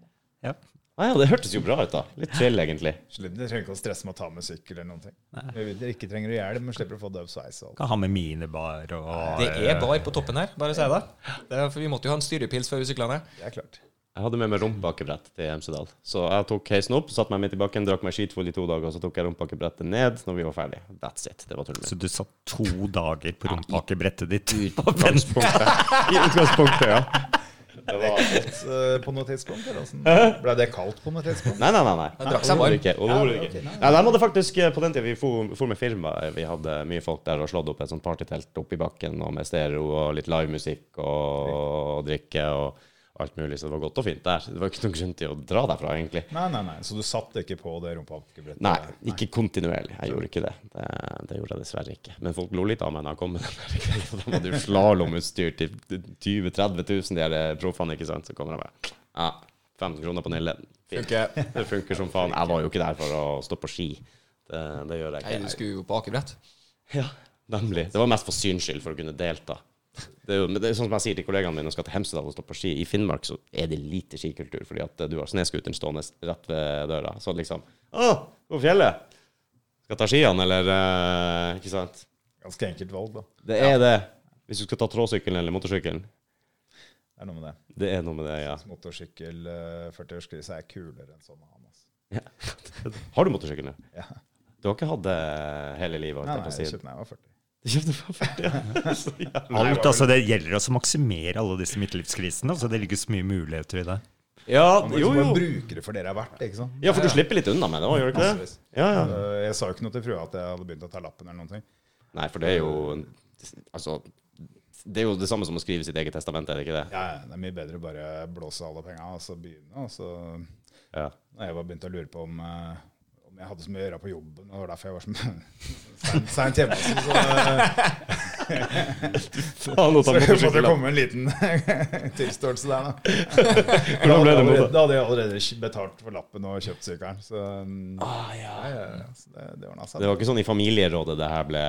Ja. Ah, ja, det hørtes jo bra ut, da. Litt chill, egentlig. Slipp- Du trenger ikke å stresse med å ta med sykkel eller noen ting. Du ikke trenger å hjelm, men slipper å få døv sveis og alt. Kan ha med minibar og Det er bar på toppen her, bare si det. det er, for vi måtte jo ha en styrepils før vi sykla ned. Det er klart. Jeg hadde med meg rumpakebrett til Hemsedal. Så jeg tok heisen opp, satte meg midt i bakken, drakk meg skitfull i to dager, og så tok jeg rumpakebrettet ned når vi var ferdige. That's it. Det var turen min. eh, Så du satt to dager på rumpakebrettet ditt? I utgangspunktet, ja. Det var kaldt eh, på noe tidspunkt? Eller? åssen? Ble det kaldt på noe tidspunkt? Nei, nei, nei. nei. Jeg drakk seg varm. Overhodet ikke. Overhodet ikke. Nei, de hadde faktisk, eh, På den tida vi for, for med firma, eh, vi hadde mye folk der og slått opp et sånt partytelt oppi bakken og med stereo og litt livemusikk og, og drikke og alt mulig, så det var godt og fint der. Det var ikke noen grunn til å dra derfra, egentlig. Nei, nei, nei. Så du satt ikke på det rumpehakebrettet? Nei, ikke kontinuerlig. Jeg gjorde ikke det. det. Det gjorde jeg dessverre ikke. Men folk lo litt av meg da jeg kom med den der greia. for De hadde jo slalåmutstyr til 20 000-30 000, de her eh, proffene, ikke sant. Så kommer jeg bare ja, 15 kroner på Nille. Fint. Det funker som faen. Jeg var jo ikke der for å stå på ski. Det, det gjør jeg Nei, du ikke. skulle jo på akebrett. Ja, nemlig. Det var mest for syns skyld, for å kunne delta. Det er jo, men det er sånn som jeg sier til kollegaene mine når jeg skal til Hemsedal og stå på ski. I Finnmark så er det lite skikultur, fordi at eh, du har snøscooteren stående rett ved døra. Så liksom Å, på fjellet! Skal ta skiene, eller eh, Ikke sant? Ganske enkelt valg, da. Det er det. Hvis du skal ta tråsykkelen eller motorsykkelen. Det er noe med det. Det er noe med det, ja. Motorsykkel eh, 40-årskrise er kulere enn sånn annen. Altså. Har du motorsykkel nå? Ja. Du har ikke hatt det hele livet? Nei, holdt jeg nei, på å jeg si. kjøpte den da jeg var 40. Du kjøpte for 40, ja. Så jævlig. Alt, altså Det gjelder også å maksimere alle disse midtlivskrisene. Altså det ligger så mye muligheter i det. Ja, Man må jo, liksom jo. bare bruke det for det det er verdt. ikke sant? Ja, for du slipper litt unna med det òg, gjør du ikke det? Massevis. Ja, ja. Eh, Jeg sa jo ikke noe til frua at jeg hadde begynt å ta lappen eller noen ting. Nei, for det er jo en- Altså, det er jo det samme som å skrive sitt eget testament, er det ikke det? Ja, ja, det er mye bedre å bare blåse alle penga og så begynne. altså. Og så Ja. når jeg var begynt å lure på om, eh, om jeg hadde så mye å gjøre på jobben, og det var derfor jeg var så mye- seint hjemme. Så, så, Faen, nå tar så jeg måtte motorsykkel av. komme en liten tilståelse der, da. Hvordan ble det Da hadde jeg med allerede- Da hadde jeg allerede betalt for lappen og kjøpt sykkelen. Så, mm, ja, ja, ja, så det, det ordna seg. Det var ikke sånn i familierådet det her ble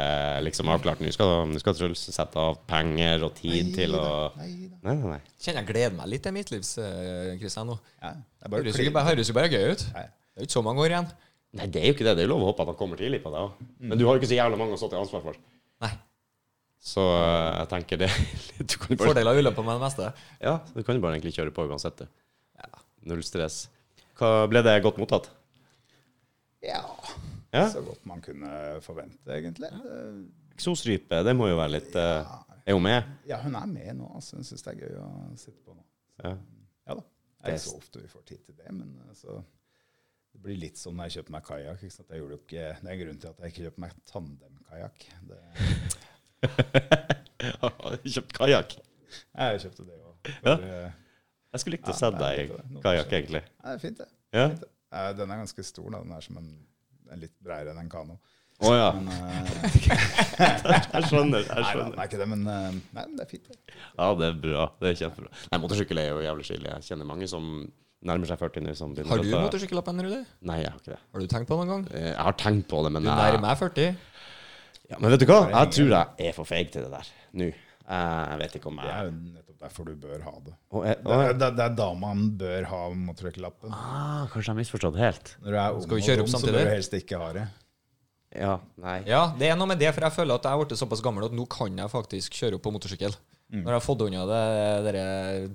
liksom avklart. Nå skal, nå skal Truls sette av penger og tid til å Nei, da. Nei, nei, nei. Kjenner jeg gleder meg litt til midtlivs, eh, Kristian. nå. Ja, det er bare Høres klin. jo bare, høres jo bare gøy ut. Nei. Det er jo ikke så mange år igjen. Nei, det er jo ikke det. Det er jo lov å håpe at han kommer tidlig på det òg. Mm. Men du har jo ikke så jævla mange å stå til ansvar for. Nei. Så eh, jeg tenker det Du kan jo bare, Fordeler og ulemper med det meste. ja, du kan jo bare egentlig kjøre på uansett, du. Null stress. Hva, ble det godt mottatt? Ja, Ja? så godt man kunne forvente, egentlig. Eh, Eksosrype, det må jo være litt eh, Er hun med? Ja, hun er med nå. Altså. Hun syns det er gøy å sitte på nå. Ja. Ja da. Det er Det- ikke så ofte vi får tid til det, men eh, så det blir litt som når jeg kjøpte meg kajakk. ikke sant? Jeg gjorde jo ikke- Det er grunnen til at jeg ikke kjøpte meg tandemkajakk. Det- Kjøpt kajakk. Jeg kjøpte det òg. Ja. Det Jeg skulle likt å se Ja, nei, deg det er i noe kajakk, som- egentlig. er fint, det. Ja? Fint, det. Eh, Den er ganske stor, da. Den er som en, den er litt bredere enn en kano. Å ja. Men, eh, Jeg skjønner. Jeg nei, da, skjønner. den er ikke det, men eh, nei, men det er fint. Det. Ja, det er bra. Det er kjempebra. Nei, motorsykkel er jo jævlig chill. Jeg kjenner mange som nærmer seg 40 nå. Som begynner Har å du ta- motorsykkellappen, Rudi? Nei, jeg har ikke det. Har du tenkt på det noen gang? Eh, Jeg har tenkt på det, men Du jeg- nærmer deg 40. ja, Men vet du hva? Jeg tror jeg er for feig til det der nå. Jeg vet ikke om det jeg er jo nettopp derfor du bør ha det. Å, jeg- Det å, er, det, er- det er da man bør ha motorsykkellappen. ah, Kanskje jeg har misforstått helt. Når du er ung Skal vi og kjøre dum, opp så samtidig? bør du helst ikke ha det. Ja, nei. Ja, det er noe med det, for jeg føler at jeg er blitt såpass gammel at nå kan jeg faktisk kjøre opp på motorsykkel. Når jeg har fått unna det dere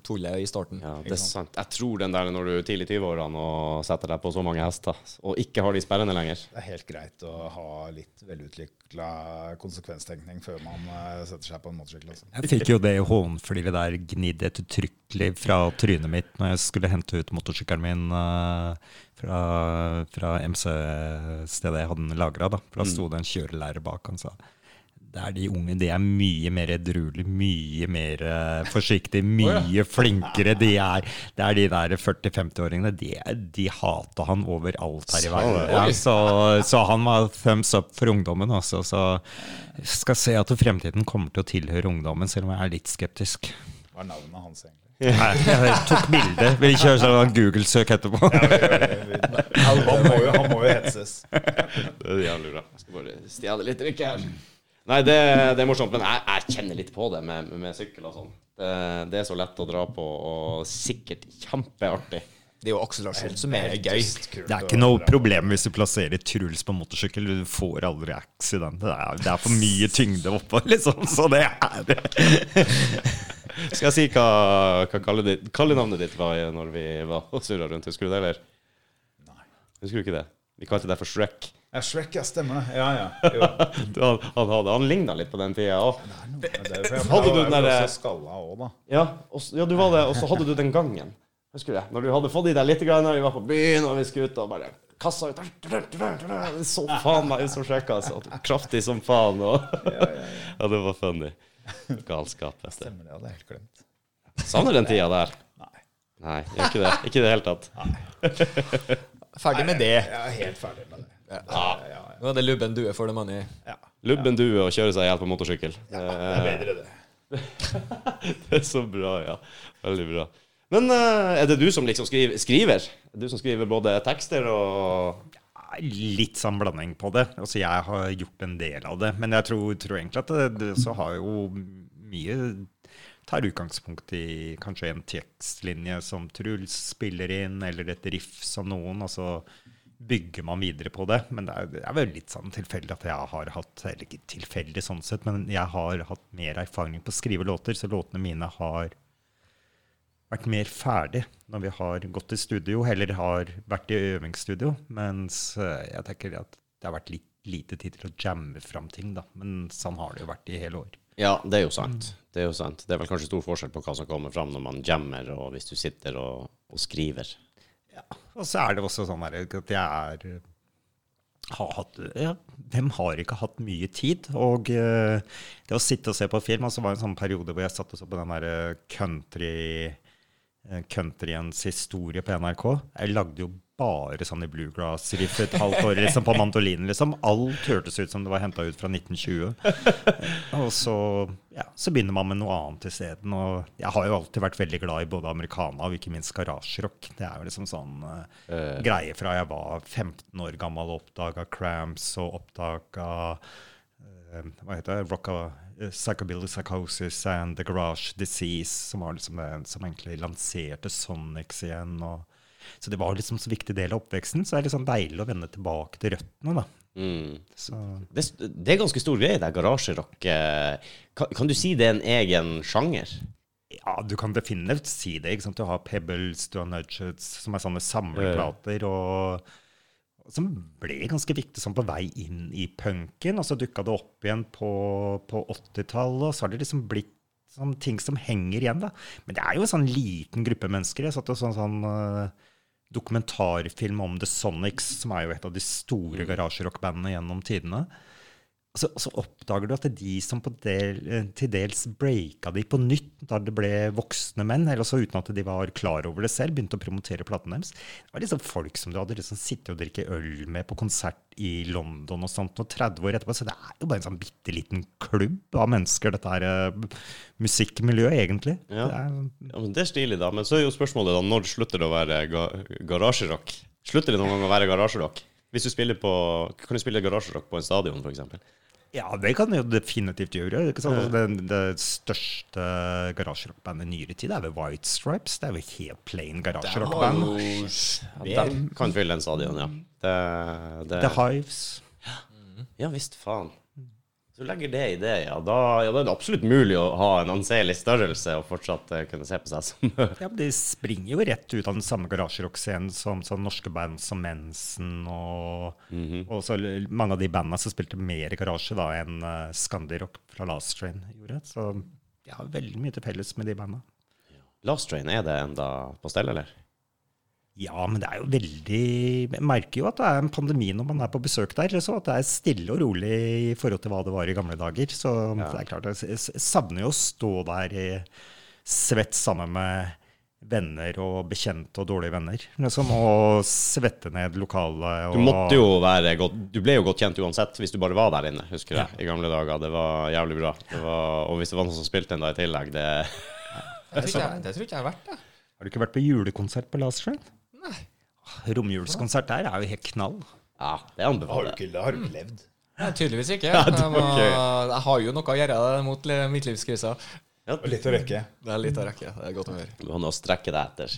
tullet i starten. Mm. Ja, det er sant. Jeg tror den der når du er tidlig i 20-årene og setter deg på så mange hester, og ikke har de sperrene lenger Det er helt greit å ha litt velutvikla konsekvenstenkning før man eh, setter seg på en motorsykkel. Altså. Jeg fikk jo det hånfliret der gnidd ettertrykkelig fra trynet mitt når jeg skulle hente ut motorsykkelen min eh, fra, fra MC-stedet jeg hadde den lagra. For da sto det en kjørelærer bak. Han sa det er de unge, de er mye mer edruelige, mye mer eh, forsiktige, mye flinkere. De er, det er de der 40-50-åringene. De, de hater han overalt her i verden. Ja, så, så han var thumbs up for ungdommen også. Så skal se at fremtiden kommer til å tilhøre ungdommen, selv om jeg er litt skeptisk. Hva er navnet hans, egentlig? Nei, jeg tok bilde. Vil kjøre sånn Google-søk etterpå. Han må jo, han må jo hetses. Det er jævlig bra. Jeg skal bare stjele litt drikke her. Nei, det, det er morsomt, men jeg, jeg kjenner litt på det med, med sykkel og sånn. Det, det er så lett å dra på, og sikkert kjempeartig. Det er jo akselerasjon som er gøy. Det er ikke noe problem hvis du plasserer Truls på motorsykkel. Du får aldri accident. Det er, det er for mye tyngde oppå, liksom. Så det er Skal jeg si hva, hva kalle ditt, kallenavnet ditt var når vi var og surra rundt? Husker du det, eller? Nei. Husker du ikke det? Vi kalte deg for Shrek. Ja, Shrek, ja, stemmer det. Ja, ja. Jo. Du, han han, hadde- han ligna litt på den tida òg. Det er jo for jeg- Hadde du jeg den var jo der- også skalla også, da. Ja, og s- ja, du var det, og så hadde du den gangen. Husker du det? Når du hadde fått i deg litt, grann, og vi var på byen og vi skulle ut og bare kassa ut Det Så faen meg ut som sjekka, altså. Kraftig som faen. Og. Ja, det var funny. Galskap. vet du. Stemmer det, hadde jeg helt glemt. Savner den tida der. Nei. Nei, gjør ikke det. Ikke i det hele tatt. Ferdig med det. Jeg er helt ferdig med det. Ja, ja, ja. Nå er det lubben due for the money. ja. Lubben due og kjøre seg i hjel på motorsykkel. Det er bedre, det. Det er så bra, ja. Veldig bra. Men eh, er det du som liksom skriver? skriver? Er det Du som skriver både tekster og litt sånn blanding på det. Altså, jeg har gjort en del av det. Men jeg tror, tror egentlig at det, det så har jo mye Tar utgangspunkt i kanskje en tekstlinje som Truls spiller inn, eller et riff som noen. og så bygger man videre på det, men det er, det er vel litt sånn tilfeldig at jeg har hatt Eller ikke tilfeldig sånn sett, men jeg har hatt mer erfaring på å skrive låter, så låtene mine har vært mer ferdig når vi har gått i studio, heller har vært i øvingsstudio. Mens eh, jeg tenker at det har vært litt lite tid til å jamme fram ting, da. Men sånn har det jo vært i hele år. Ja, det er jo sant. Det er jo sant. Det er vel kanskje stor forskjell på hva som kommer fram når man jammer, og hvis du sitter og, og skriver. Og så er det også sånn her at jeg er eh, har hatt, ja, Hvem har ikke hatt mye tid? Og eh, det å sitte og se på film altså Det var en sånn periode hvor jeg satt og så på den der eh, country eh, countryens historie på NRK. Jeg lagde jo bare sånne bluegrass-riff et halvt år liksom, på mandolinen. liksom. Alt hørtes ut som det var henta ut fra 1920. Og så, ja, så begynner man med noe annet isteden. Og jeg har jo alltid vært veldig glad i både americana og ikke minst garasjerock. Det er jo liksom sånn eh, greie fra jeg var 15 år gammel og oppdaga Cramps og oppdaga eh, hva heter det? Rocka, eh, Psychobilly Psychosis and The Garage Disease, som var liksom det som egentlig lanserte Sonics igjen. Og, så det var liksom så viktig del av oppveksten. Så det er liksom deilig å vende tilbake til røttene, da. Mm. Så Det, det er ganske stor greie, det er garasjerock. Eh, Kan, kan du si det er en egen sjanger? Ja, du kan definitivt si det. ikke sant? Du har Pebbles, du har Nudgets, som er sånne samleplater. og Som ble ganske viktig sånn på vei inn i punken. Og så dukka det opp igjen på, på 80-tallet, og så har det liksom blitt sånn ting som henger igjen. da. Men det er jo en sånn liten gruppe mennesker. Jeg satt og sånn, sånn eh, dokumentarfilm om The Sonics, som er jo et av de store garasjerockbandene gjennom tidene. Og så, og så oppdager du at det er de som på del, eh, til dels breaka de på nytt da det ble voksne menn, eller så uten at de var klar over det selv, begynte å promotere platene deres. Det var liksom folk som du hadde liksom sittet og drikket øl med på konsert i London og sånt, og 30 år etterpå. Så det er jo bare en sånn bitte liten klubb av mennesker, dette her eh, musikkmiljøet, egentlig. Ja. Det er, Ja, men det er stilig, da. Men så er jo spørsmålet da, når slutter det å være ga garasjerock? Slutter det noen gang å være garasjerock? Hvis du spiller på Kan du spille garasjerock på en stadion, f.eks.? Ja, det kan det jo definitivt gjøre. Ikke sant? Altså, det, det største garasjerockbandet i nyere tid er The White Stripes. Det er jo helt plain garasjerockband. Dem kan fylle en stadion, ja. Det, det, The Hives. Ja visst, faen. Så du legger det i det, ja. Da, ja, da er det absolutt mulig å ha en anselig størrelse og fortsatt eh, kunne se på seg som Ja, men De springer jo rett ut av den samme garasjerockscenen som sånn norske band som Mensen og, og så l- mange av de bandene som spilte mer i garasje da enn uh, Scandirock fra Last Train gjorde. Så de har veldig mye til felles med de bandene. Last Train, er det enda på stell, eller? Ja, men det er jo veldig Jeg merker jo at det er en pandemi når man er på besøk der. Så at det er stille og rolig i forhold til hva det var i gamle dager. Så det er klart, jeg s- savner jo å stå der i svett sammen med venner og bekjente og dårlige venner. Liksom, og svette ned lokalet. Og, Du måtte jo være godt Du ble jo godt kjent uansett hvis du bare var der inne, husker jeg, i gamle dager. Det var jævlig bra. Det var, og hvis det var noen som spilte en da i tillegg, det Det tror ikke jeg, det tror ikke jeg er verdt det. Har du ikke vært på julekonsert på Last Train? Nei. Romjulskonsert der er jo helt knall. Ja, det Har du anbefaler jeg. ikke, har du ikke levd? Nei, tydeligvis ikke. det jeg, var må, gøy. jeg har jo noe å gjøre mot le- midtlivskrisa. Og litt å rekke. Det er litt av rekke. Det er godt å høre. Du har noe å strekke deg etter.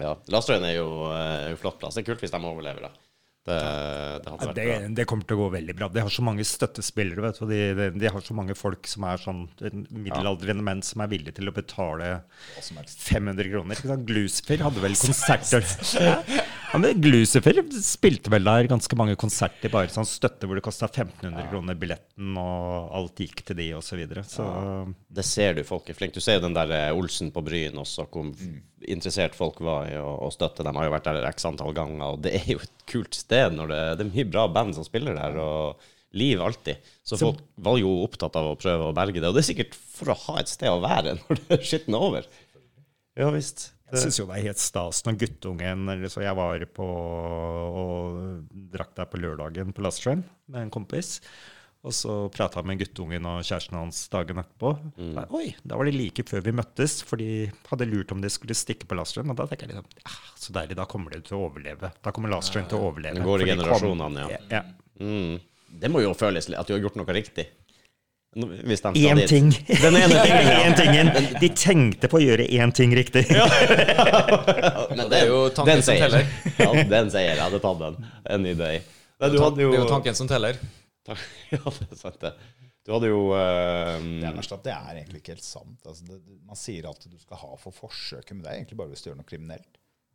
Ja. Last Train er jo, eh, er jo flott plass. Det er kult hvis de overlever, da. Det, det hadde Ja, vært det, bra. det kommer til å gå veldig bra. De har så mange støttespillere. Vet du. og De, de, de har så mange folk som er sånn middelaldrende menn som er villige til å betale Hva som helst. 500 kroner. Ikke sant? Glucifer hadde vel konserter ja, men Glucifer spilte vel der ganske mange konserter, bare sånn støtte hvor det kosta 1500 kroner billetten, og alt gikk til de, og Så, videre. så Det ser du, folk er flinke. Du ser jo den der eh, Olsen på Bryn også, hvor interessert folk var i å, å støtte dem. Har jo vært der x antall ganger, og det er jo et kult sted. Når det, det er mye bra band som spiller der, og liv alltid. Så folk var jo opptatt av å prøve å berge det, og det er sikkert for å ha et sted å være når det skitner over. Ja visst. Jeg syns jo det er helt stas når guttungen eller så Jeg var på og drakk der på lørdagen på Last Train med en kompis. Og så prata jeg med guttungen og kjæresten hans dagen etterpå. Mm. Da, Oi, da var de like før vi møttes, for de hadde lurt om de skulle stikke på Last Train. Og da tenker jeg liksom ja, Så deilig, da kommer de til å overleve. Da kommer Last Train til å overleve. Det går i for de kom- generasjonene, ja. ja. Mm. Det må jo føles litt at du har gjort noe riktig. Nå- Hvis de skal Én dit. ting. Den ene tingen. ja. Én tingen. De tenkte på å gjøre én ting riktig. Men Det er jo tanken den som seier. teller. Ja, den seier. Jeg hadde tatt den. En ny dag. Nei, du hadde jo Det er jo tanken som teller. Ja, det er sant, det. Du hadde jo Det er eh, verst at det er egentlig ikke helt sant. Altså, det, det- man sier at du skal ha for forsøket, men det er egentlig bare hvis du gjør noe kriminelt.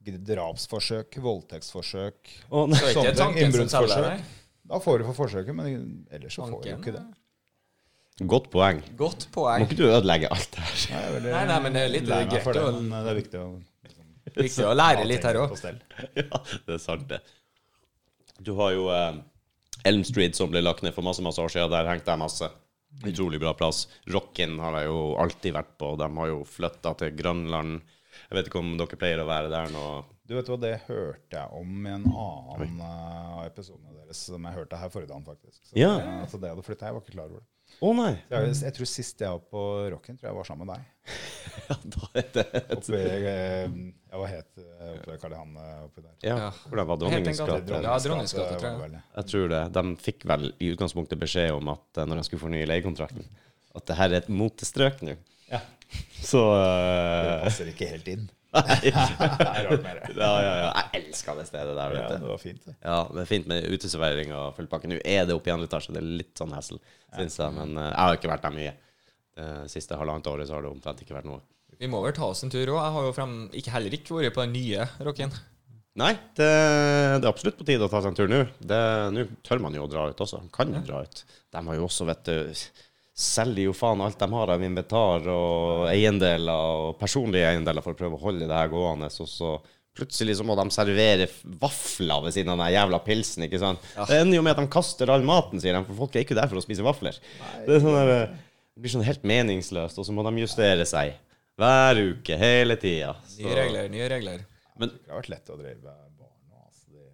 Drapsforsøk, voldtektsforsøk, å, nei. Så er sånne ikke ehm, Sånn, tanken som teller, innbruddsforsøk. nei. Da får du for forsøket, men ellers så får du jo Banken, ikke det. Godt poeng. Godt Må poeng. ikke du ødelegge alt det her? Nei, jeg er veldig Nei, nei, men det er litt lei meg for greit det, å- men eh, det er viktig å Viktig å lære litt her også òg. Ja, det er sant, det. Du har jo eh, Elm Street, som ble lagt ned for masse masse år siden. Der hengte jeg masse. Utrolig bra plass. Rocken har jeg jo alltid vært på. De har jo flytta til Grønland. Jeg vet ikke om dere pleier å være der nå. Du vet hva, det hørte jeg om i en annen eh, av episodene deres, som jeg hørte her forrige dagen, faktisk. Så, Ja. det- så det jeg hadde flytta, jeg var ikke klar over det. Å nei! Jeg, jeg tror sist jeg var på Rocken, tror jeg var sammen med deg. Ja, da er det Oppe i, eh, ja, hva het eh, oppe ved Karl Johan eh, oppi der? eh, Ja, hvordan var Dronningens Helt en gate? gate. Ja, Dronningens gate, var tror jeg. det vel. Jeg tror det. De fikk vel i utgangspunktet beskjed om at eh, når de skulle fornye leiekontrakten, at det her er et motestrøk nå. Ja. Så Det eh, passer ikke helt inn. Nei. Det er rart med det. Ja, ja, ja. Jeg elsker det stedet der, Ja, vet du. det var fint, det. Ja, det er fint med uteservering og full pakke. Nå er det oppe i andre etasje, det er litt sånn hessel, syns jeg. Men eh, jeg har ikke vært der mye. Det siste halvannet året så har det omtrent ikke vært noe. Vi må vel ta oss en tur òg. Jeg har jo frem, ikke heller ikke vært på den nye rocken. Nei, det, det er absolutt på tide å ta seg en tur nå. Det- Nå tør man jo å dra ut også. Man kan jo dra ut. De har jo også, vet du Selger jo faen alt de har av inventar og eiendeler og personlige eiendeler for å prøve å holde det her gående. Og så plutselig så må de servere f- vafler ved siden av den jævla pilsen, ikke sant. Det ender jo med at de kaster all maten, sier de, for folk er ikke der for å spise vafler. Det, er sånn der, eh, det blir sånn helt meningsløst, og så må de justere seg. Hver uke, hele tida. Nye regler, nye regler. Men Det har vært lett å drive barn nå, altså, de,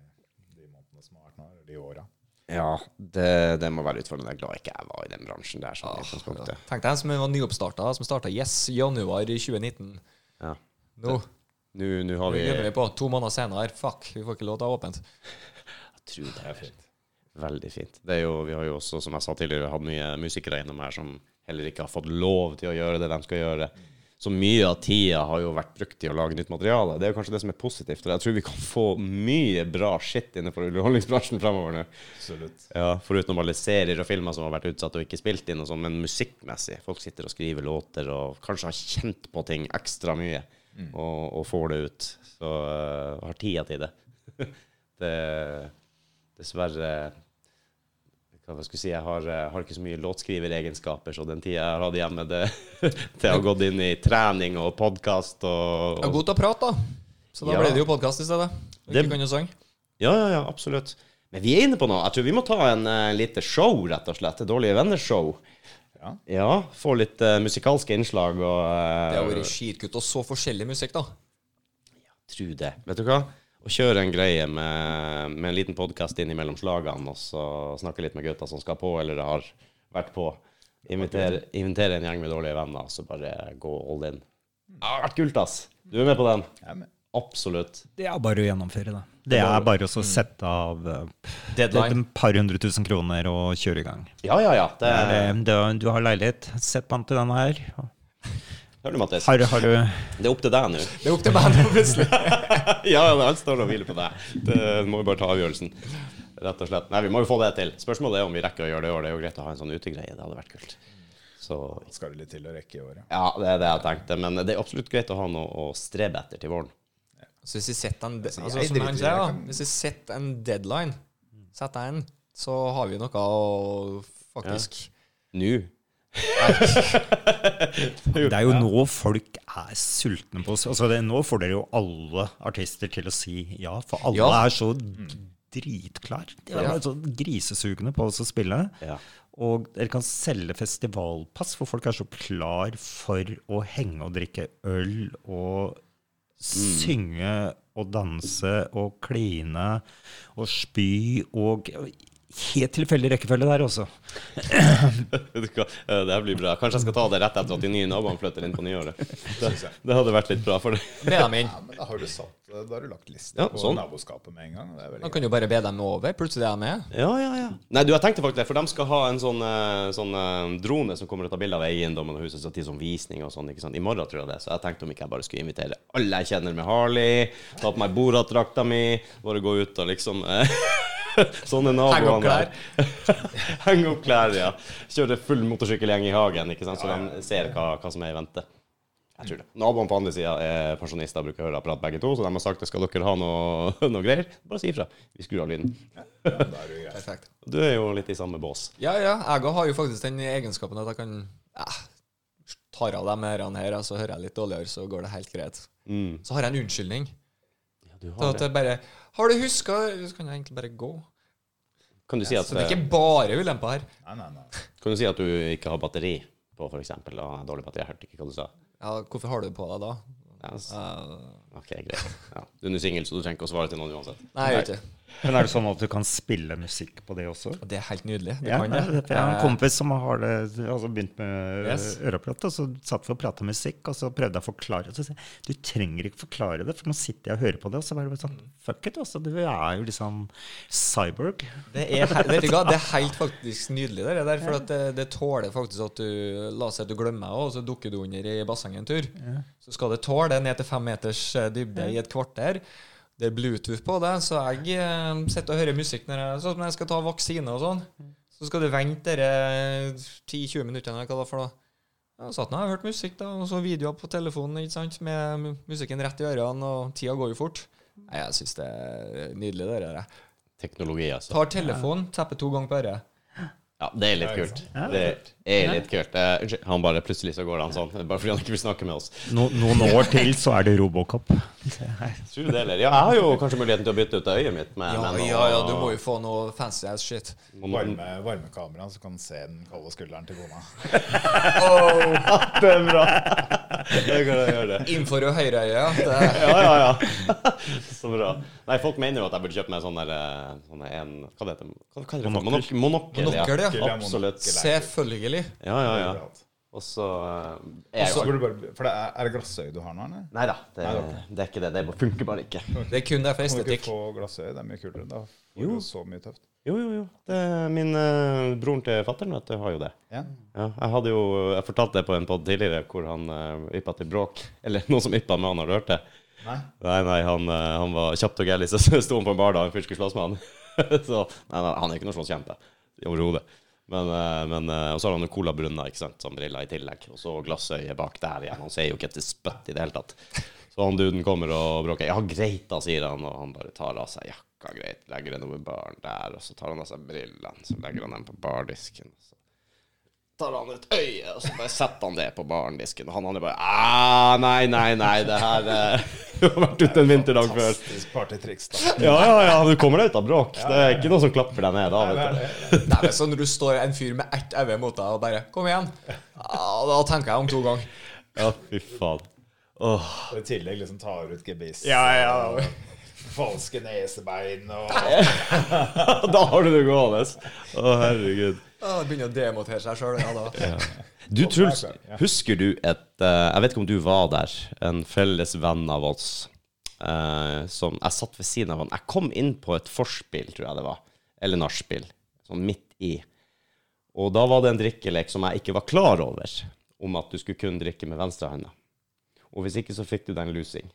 de månedene som har vært nå, eller de åra. Ja, det, det må være utfordrende. Jeg er glad ikke jeg var i den bransjen der. sånn i utgangspunktet. Tenk deg en som var nyoppstarta, som starta Yes januar i 2019. Ja. Nå Nå nå har vi glemmer vi Jeg på. To måneder senere, fuck, vi får ikke lov til å ha åpent. tror det er fint. Veldig fint. Det er jo, vi har jo også, som jeg sa tidligere, hatt mye musikere innom her som heller ikke har fått lov til å gjøre det de skal gjøre. Så mye av tida har jo vært brukt til å lage nytt materiale. Det er jo kanskje det som er positivt. Og jeg tror vi kan få mye bra shit innenfor underholdningsbransjen fremover nå. Absolutt. Ja, foruten alle serier og filmer som har vært utsatt og ikke spilt inn, og sånn, men musikkmessig. Folk sitter og skriver låter og kanskje har kjent på ting ekstra mye, og, og får det ut. Så øh, har tida til det. det dessverre hva jeg skulle si, jeg har, øh, har ikke så mye låtskriveregenskaper, så den tida jeg har hatt hjemme, det, det har gått inn i trening og podkast og, Det er og god til å prate, da. Så da Ja. ble det jo podkast i stedet. Og Det- Ikke kan jo sang. Ja, ja, ja, absolutt. Men vi er inne på noe. Jeg tror vi må ta en eh, lite show, rett og slett. Et Dårlige venner-show. Ja. Få litt eh, musikalske innslag og Det har uh, vært skitkutt og så forskjellig musikk, da. Tro det. Vet du hva? Å kjøre en greie med, med en liten podkast innimellom slagene, og så snakke litt med gutta som skal på, eller har vært på. Invitere, invitere en gjeng med dårlige venner, så bare gå all in. Det har vært kult, ass. Du er med på den? Jeg er med. Absolutt. Det er bare å gjennomføre, det. Det er bare å sette av eh, Deadline. et par hundre tusen kroner og kjøre i gang. Ja, ja, ja. Det Det er, det er- du har leilighet, sett på den til den her. Hører du, Mattis? Har, har du Det er opp til deg nå. Det er opp til bandet, plutselig. ja, ja, men alt står og hviler på deg. Det må vi bare ta avgjørelsen. Rett og slett. Nei, vi må jo få det til. Spørsmålet er om vi rekker å gjøre det i år. Det er jo greit å ha en sånn utegreie. Det hadde vært kult. Så Skal det litt til å rekke i året. ja, det er det jeg tenkte. Men det er absolutt greit å ha noe å strebe etter til våren. Så hvis vi setter en, de- Altså, altså, jeg som han driter i sier, det, da, jeg kan- hvis vi setter en deadline, setter en, så har vi noe å faktisk Nå. Det er jo nå folk er sultne på oss. Altså det, nå får dere jo alle artister til å si ja, Mm. for alle Ja. er så dritklar. De er Ja. så grisesugne på oss å spille. Ja. Og dere kan selge festivalpass, for folk er så klar for å henge og drikke øl og Mm. synge og danse og kline og spy og Helt tilfeldig rekkefølge der også. Vet du hva? Eh, Det her blir bra. Kanskje jeg skal ta det rett etter at de nye naboene flytter inn på nyåret. Det, Synes jeg. det hadde vært litt bra for det. Be dem inn. Ja, men da har du, satt, da har du lagt lista Ja, på sånn. naboskapet med en gang. Det er veldig Man kan jo bare be dem over. Plutselig er de med. Ja, ja, ja. Nei, du, jeg tenkte faktisk det, for de skal ha en sånn, eh, sånn eh, drone som kommer og tar bilde av eiendommen og huset så til sånn visning og sånn, ikke sant. I morgen tror jeg det, så jeg tenkte om ikke jeg bare skulle invitere alle jeg kjenner med Harley, ta på meg Borat-drakta mi, bare gå ut og liksom eh, Sånne naboer. Henge opp klær. Henge opp klær, ja. Kjøre full motorsykkelgjeng i hagen, ikke sant, så de ser hva, hva som er i vente. Jeg tror det. Naboene på andre sida er pensjonister og bruker høreapparat begge to, så de har sagt at skal dere ha noe, noe greier, bare si ifra. Vi skrur av lyden. Perfekt. Du er jo litt i samme bås. Ja, ja. Jeg har jo faktisk den egenskapen at jeg kan eh, Tar av de ørene her, og så hører jeg litt dårligere, så går det helt greit. Mm. Så har jeg en unnskyldning. Ja, du Sånn har at det. jeg bare Har du huska Så kan jeg egentlig bare gå. Kan du si at, Så det er ikke bare ulemper her. Nei, nei, nei. kan du, si at du ikke har batteri på, for eksempel? Og har dårlig batteri, jeg hørte ikke hva du sa. Ja, hvorfor har du det på deg da? Ja, s- Eh, OK, greit. Ja. Du er nå singel, så du trenger ikke å svare til noen uansett. nei, jeg gjør ikke det. Men er det sånn at du kan spille musikk på det også? Og Det er helt nydelig. Det Ja, kan jeg jeg. Eh, jeg har en kompis som har det, altså begynt med Yes. øreapparat, og så satt vi og prata musikk, og så prøvde jeg å forklare det. Så sa jeg du trenger ikke forklare det, for nå sitter jeg og hører på det, og så var det bare sånn fuck it, altså. Du er jo liksom cyborg. Det er, he- vet du hva, det er helt faktisk nydelig, det der. For at det, det tåler faktisk at du La oss si at du glemmer det, og så dukker du under i bassenget en tur. Så skal det tåle det ned til fem meters eh, dybde i et kvarter. Det er Bluetooth på det, så jeg eh, sitter og hører musikk når jeg, sånn som når jeg skal ta vaksine og sånn. Så skal du vente dere 10-20 minutter, eller hva det er for noe. Ja, satt nå, jeg hørte musikk da, og så videoer på telefonen ikke sant, med mu- musikken rett i ørene, og tida går jo fort. Nei, Jeg syns det er nydelig, det der. jeg. Teknologi, altså. Tar telefonen, tapper to ganger på øret. Ja, det er litt kult. Det er litt kult. Eh, unnskyld. Han bare plutselig så går han sånn, bare fordi han ikke vil snakke med oss. No, noen år til så er det Robocop. Tror du det, eller? Ja, jeg har jo kanskje muligheten til å bytte ut det øyet mitt med Ja, med noe- ja, ja, du må jo få noe fancy ass shit. Varme, varmekamera, så kan se den kalde skulderen til kona. Oh. Det er bra. Det kan jeg gjøre. Innenfor og høyre øye. ja. Det- Ja, ja, ja. Så bra. Nei, folk mener jo at jeg burde kjøpe meg sånn der eh, sånn der en, Hva det heter hva, hva er det? for? Monok- Monokkel. Monokkel, ja. ja. Absolutt. Selvfølgelig. Ja, ja, ja. Overalt. Og så eh, er Så jeg jo burde du bare, for det er, er det glassøye du har nå, eller? Nei da, det, det er ikke det. Det bare funker bare ikke. Det er kun Kan du derfor ikke estetikk. få glassøye? Det er mye kulere. Da får Jo. du så mye tøft. Jo, jo, jo. Det, min eh, broren til fatter'n, vet du, har jo det. Ja. Ja, jeg hadde jo, jeg fortalte det på en podd tidligere hvor han uh, yppa til bråk. Eller noen som yppa med han, har du hørt det? Nei. Nei, nei, han, eh, han var kjapt og gæli, så sto han på en bar da en fyr skulle slåss med han. så nei, nei, han er ikke sånn noen slåsskjempe overhodet. Men, eh, men eh, Og så har han jo Cola Brunna ikke sant, som briller i tillegg, og så glassøyet bak der igjen. Han ser jo ikke et spytt i det hele tatt. Så han duden kommer og bråker. 'Ja, greit', da, sier han, og han bare tar av seg jakka, greit, legger den over baren der, og så tar han av seg brillene, så legger han dem på bardisken. og Så tar han ut øyet, og så bare setter han det på barendisken. Og han andre bare «Ah, Nei, nei, nei, det her eh, Du har vært ute en vinterdag før. Fantastisk partytriks, da. Ja, ja, ja, du kommer deg ut av bråk. Det er ikke noen som klapper deg ned da, Nei, vet du. Nei, men så når du står en fyr med ett øye mot deg og bare 'Kom igjen', ja, da tenker jeg om to ganger. Ja, fy faen. Åh. Og I tillegg liksom tar ut gebiss. ja, ja. Falske nesebein og Da har du det gående. Å, herregud. Ja, det begynner å demotere seg sjøl. Ja, da. Du, Truls, husker du et eh, Jeg vet ikke om du var der. En felles venn av oss eh, som Jeg satt ved siden av han. Jeg kom inn på et forspill, tror jeg det var. Eller nachspiel. Sånn midt i. Og da var det en drikkelek som jeg ikke var klar over, om at du skulle kun drikke med venstrehånda. Og hvis ikke, så fikk du deg en lusing.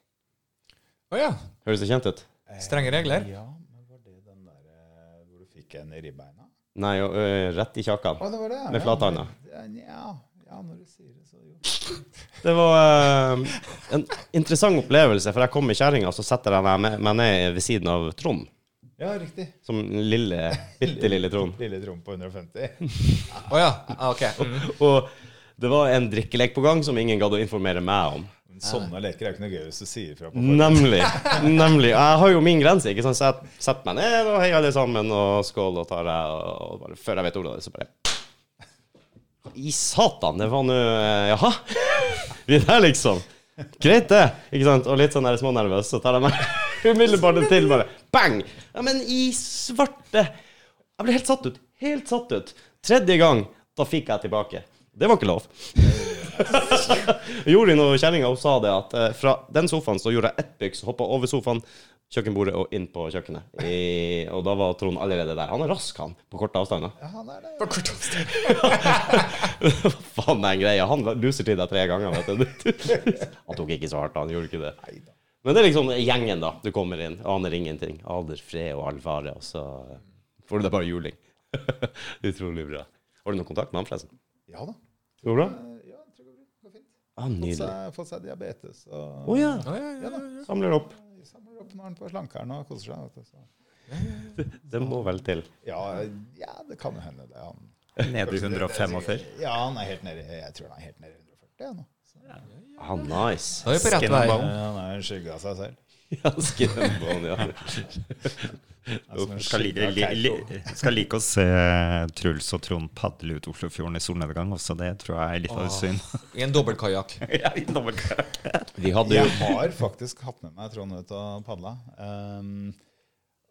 Å ja. Høres det kjent ut? Strenge regler. Eh, Ja, men var det den der eh, hvor du fikk en i ribbeina? Nei, og, ø, rett i kjakan. Å, det var det. Med flathanda. Ja, ja, ja, når du sier det, så jo. Det var eh, en interessant opplevelse, for jeg kom med kjerringa, og så setter jeg meg med- meg ned ved siden av Trond. Ja, riktig. Som lille, bitte lille Trond. Lille Trond på 150. Å ja. Ah, OK. Mm. Og det var en drikkelek på gang som ingen gadd å informere meg om. Men sånne leker er jo ikke noe gøy hvis du sier fra på forhånd. Nemlig. nemlig. Jeg har jo min grense, ikke sant. Så jeg setter meg ned og hei, alle sammen, og skål, og tar jeg, og bare før jeg vet ordet av det, så bare I satan, det var nå eh, Jaha? Vi er der, liksom. Greit, det. Ikke sant? Og litt sånn der smånervøs, så tar jeg meg umiddelbart til, bare bang! Ja, men i svarte Jeg ble helt satt ut. Helt satt ut. Tredje gang, da fikk jeg tilbake. Det var ikke lov. Jorunn og kjerringa hun sa det at eh, fra den sofaen så gjorde jeg ett byks, hoppa over sofaen, kjøkkenbordet og inn på kjøkkenet. I, og da var Trond allerede der. Han er rask, han, på korte avstander. Ja, han er det. På kort avstand. Faen, det er en greie. Han luser til deg tre ganger, vet du. Han tok ikke så hardt, han gjorde ikke det. Neida. Men det er liksom gjengen, da. Du kommer inn, aner ingenting. Aner fred og allfare, og så eh, får du deg bare juling. Utrolig bra. Har du noen kontakt med han, forresten? Ja da. Går det bra? Eh, Ja, jeg tror det går bra. Det går fint. Ah, Fått nydelig. seg, fått seg diabetes. Å Og ja. Ja, ja, ja, Ja da. ja. Samler opp. samler opp når han på slankeren og koser seg. Vet du. Så. Det må vel til. Ja, ja, det kan jo hende det. er Han, Nede i 145. Ja, han er helt nede, jeg tror han er helt nede i 140 ja, nå. Så. Ah, nice. Da er vi på rett vei. Skinnerball. Han er en skygge av seg selv. Ja, skinnbånd, ja. Han er som en skygge Skal like, av li, Keiko. li, skal like å se Truls og Trond padle ut Oslofjorden i solnedgang også. Det tror jeg er litt av et syn. I en dobbeltkajakk. Ja, i dobbeltkø. Vi hadde jo Jeg har faktisk hatt med meg Trond ut og padla. Ehm,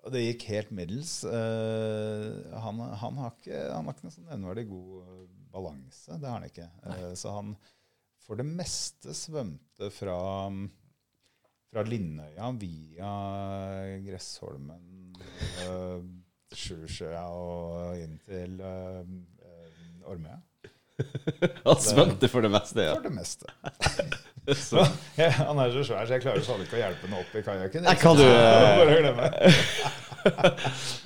og det gikk helt middels. Eh, han, han, har ikke, han har ikke noe sånn nevneverdig god balanse. Det har han ikke. Eh, så han for det meste svømte fra, fra Lindøya via Gressholmen, uh, Sjursjøa og inn til eh, eh, Ormøya. Han svømte for det meste, ja. For det meste. Så, Ja, han er så svær, så jeg klarer faen ikke å hjelpe ham opp i kajakken. Nei, kan du- eh, Bare glemme.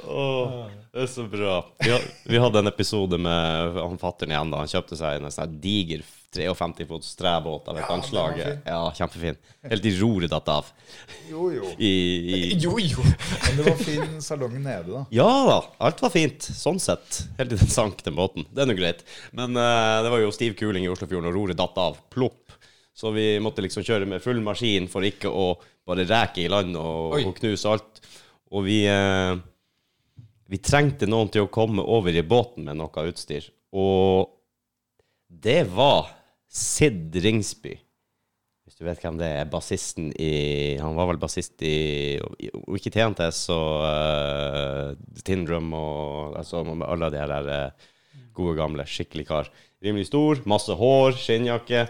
Åh, det er så bra. Vi, had- vi hadde en episode med han fatteren igjen. da Han kjøpte seg en sånn her diger 53 fots trebåt av et Ja, anslag. den var fin. Ja, kjempefin. Helt i roret datt av. Jo, jo. I, i Jo, jo. Men det var fin salong nede, da. Ja da, alt var fint, sånn sett. Helt til den sank, den båten. Det er nå greit. Men eh, det var jo stiv kuling i Oslofjorden, og roret datt av. Plopp. Så vi måtte liksom kjøre med full maskin for ikke å bare reke i land og, Oi. og knuse alt. Og vi eh, Vi trengte noen til å komme over i båten med noe utstyr. Og det var Sid Ringsby. Hvis du vet hvem det er, bassisten i Han var vel bassist i Og ikke TNTS og eh, Tindrum og altså, alle de her eh, gode, gamle, skikkelig kar. Rimelig stor, masse hår, skinnjakke.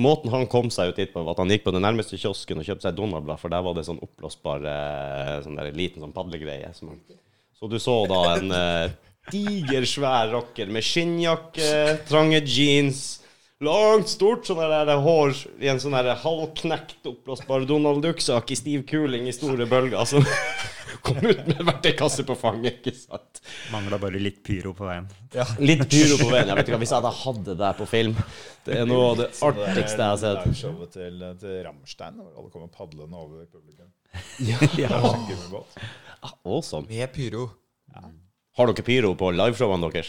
Måten han kom seg ut dit på, var at han gikk på den nærmeste kiosken og kjøpte seg Donald-blad, for der var det sånn oppblåsbar eh, sånn der liten sånn padlegreie. Som han så du så da en eh, diger, svær rocker med skinnjakke, trange jeans, langt, stort sånn der, der hår i en sånn der halvknekt, oppblåsbar Donald Duck-sak i stiv kuling i store bølger. Altså, kom ut med verktøykasse på fanget, ikke sant? Mangla bare litt pyro på veien. Litt pyro på veien. Jeg vet ikke hva hvis jeg hadde hatt det der på film. Det er noe av det Så det er artigste jeg har sett. Liveshowet til, til Rammstein, hvor alle kommer padlende over publikum. Ja. Det er en gummibåt. Awesome. Med pyro. Har dere pyro på liveshowene deres?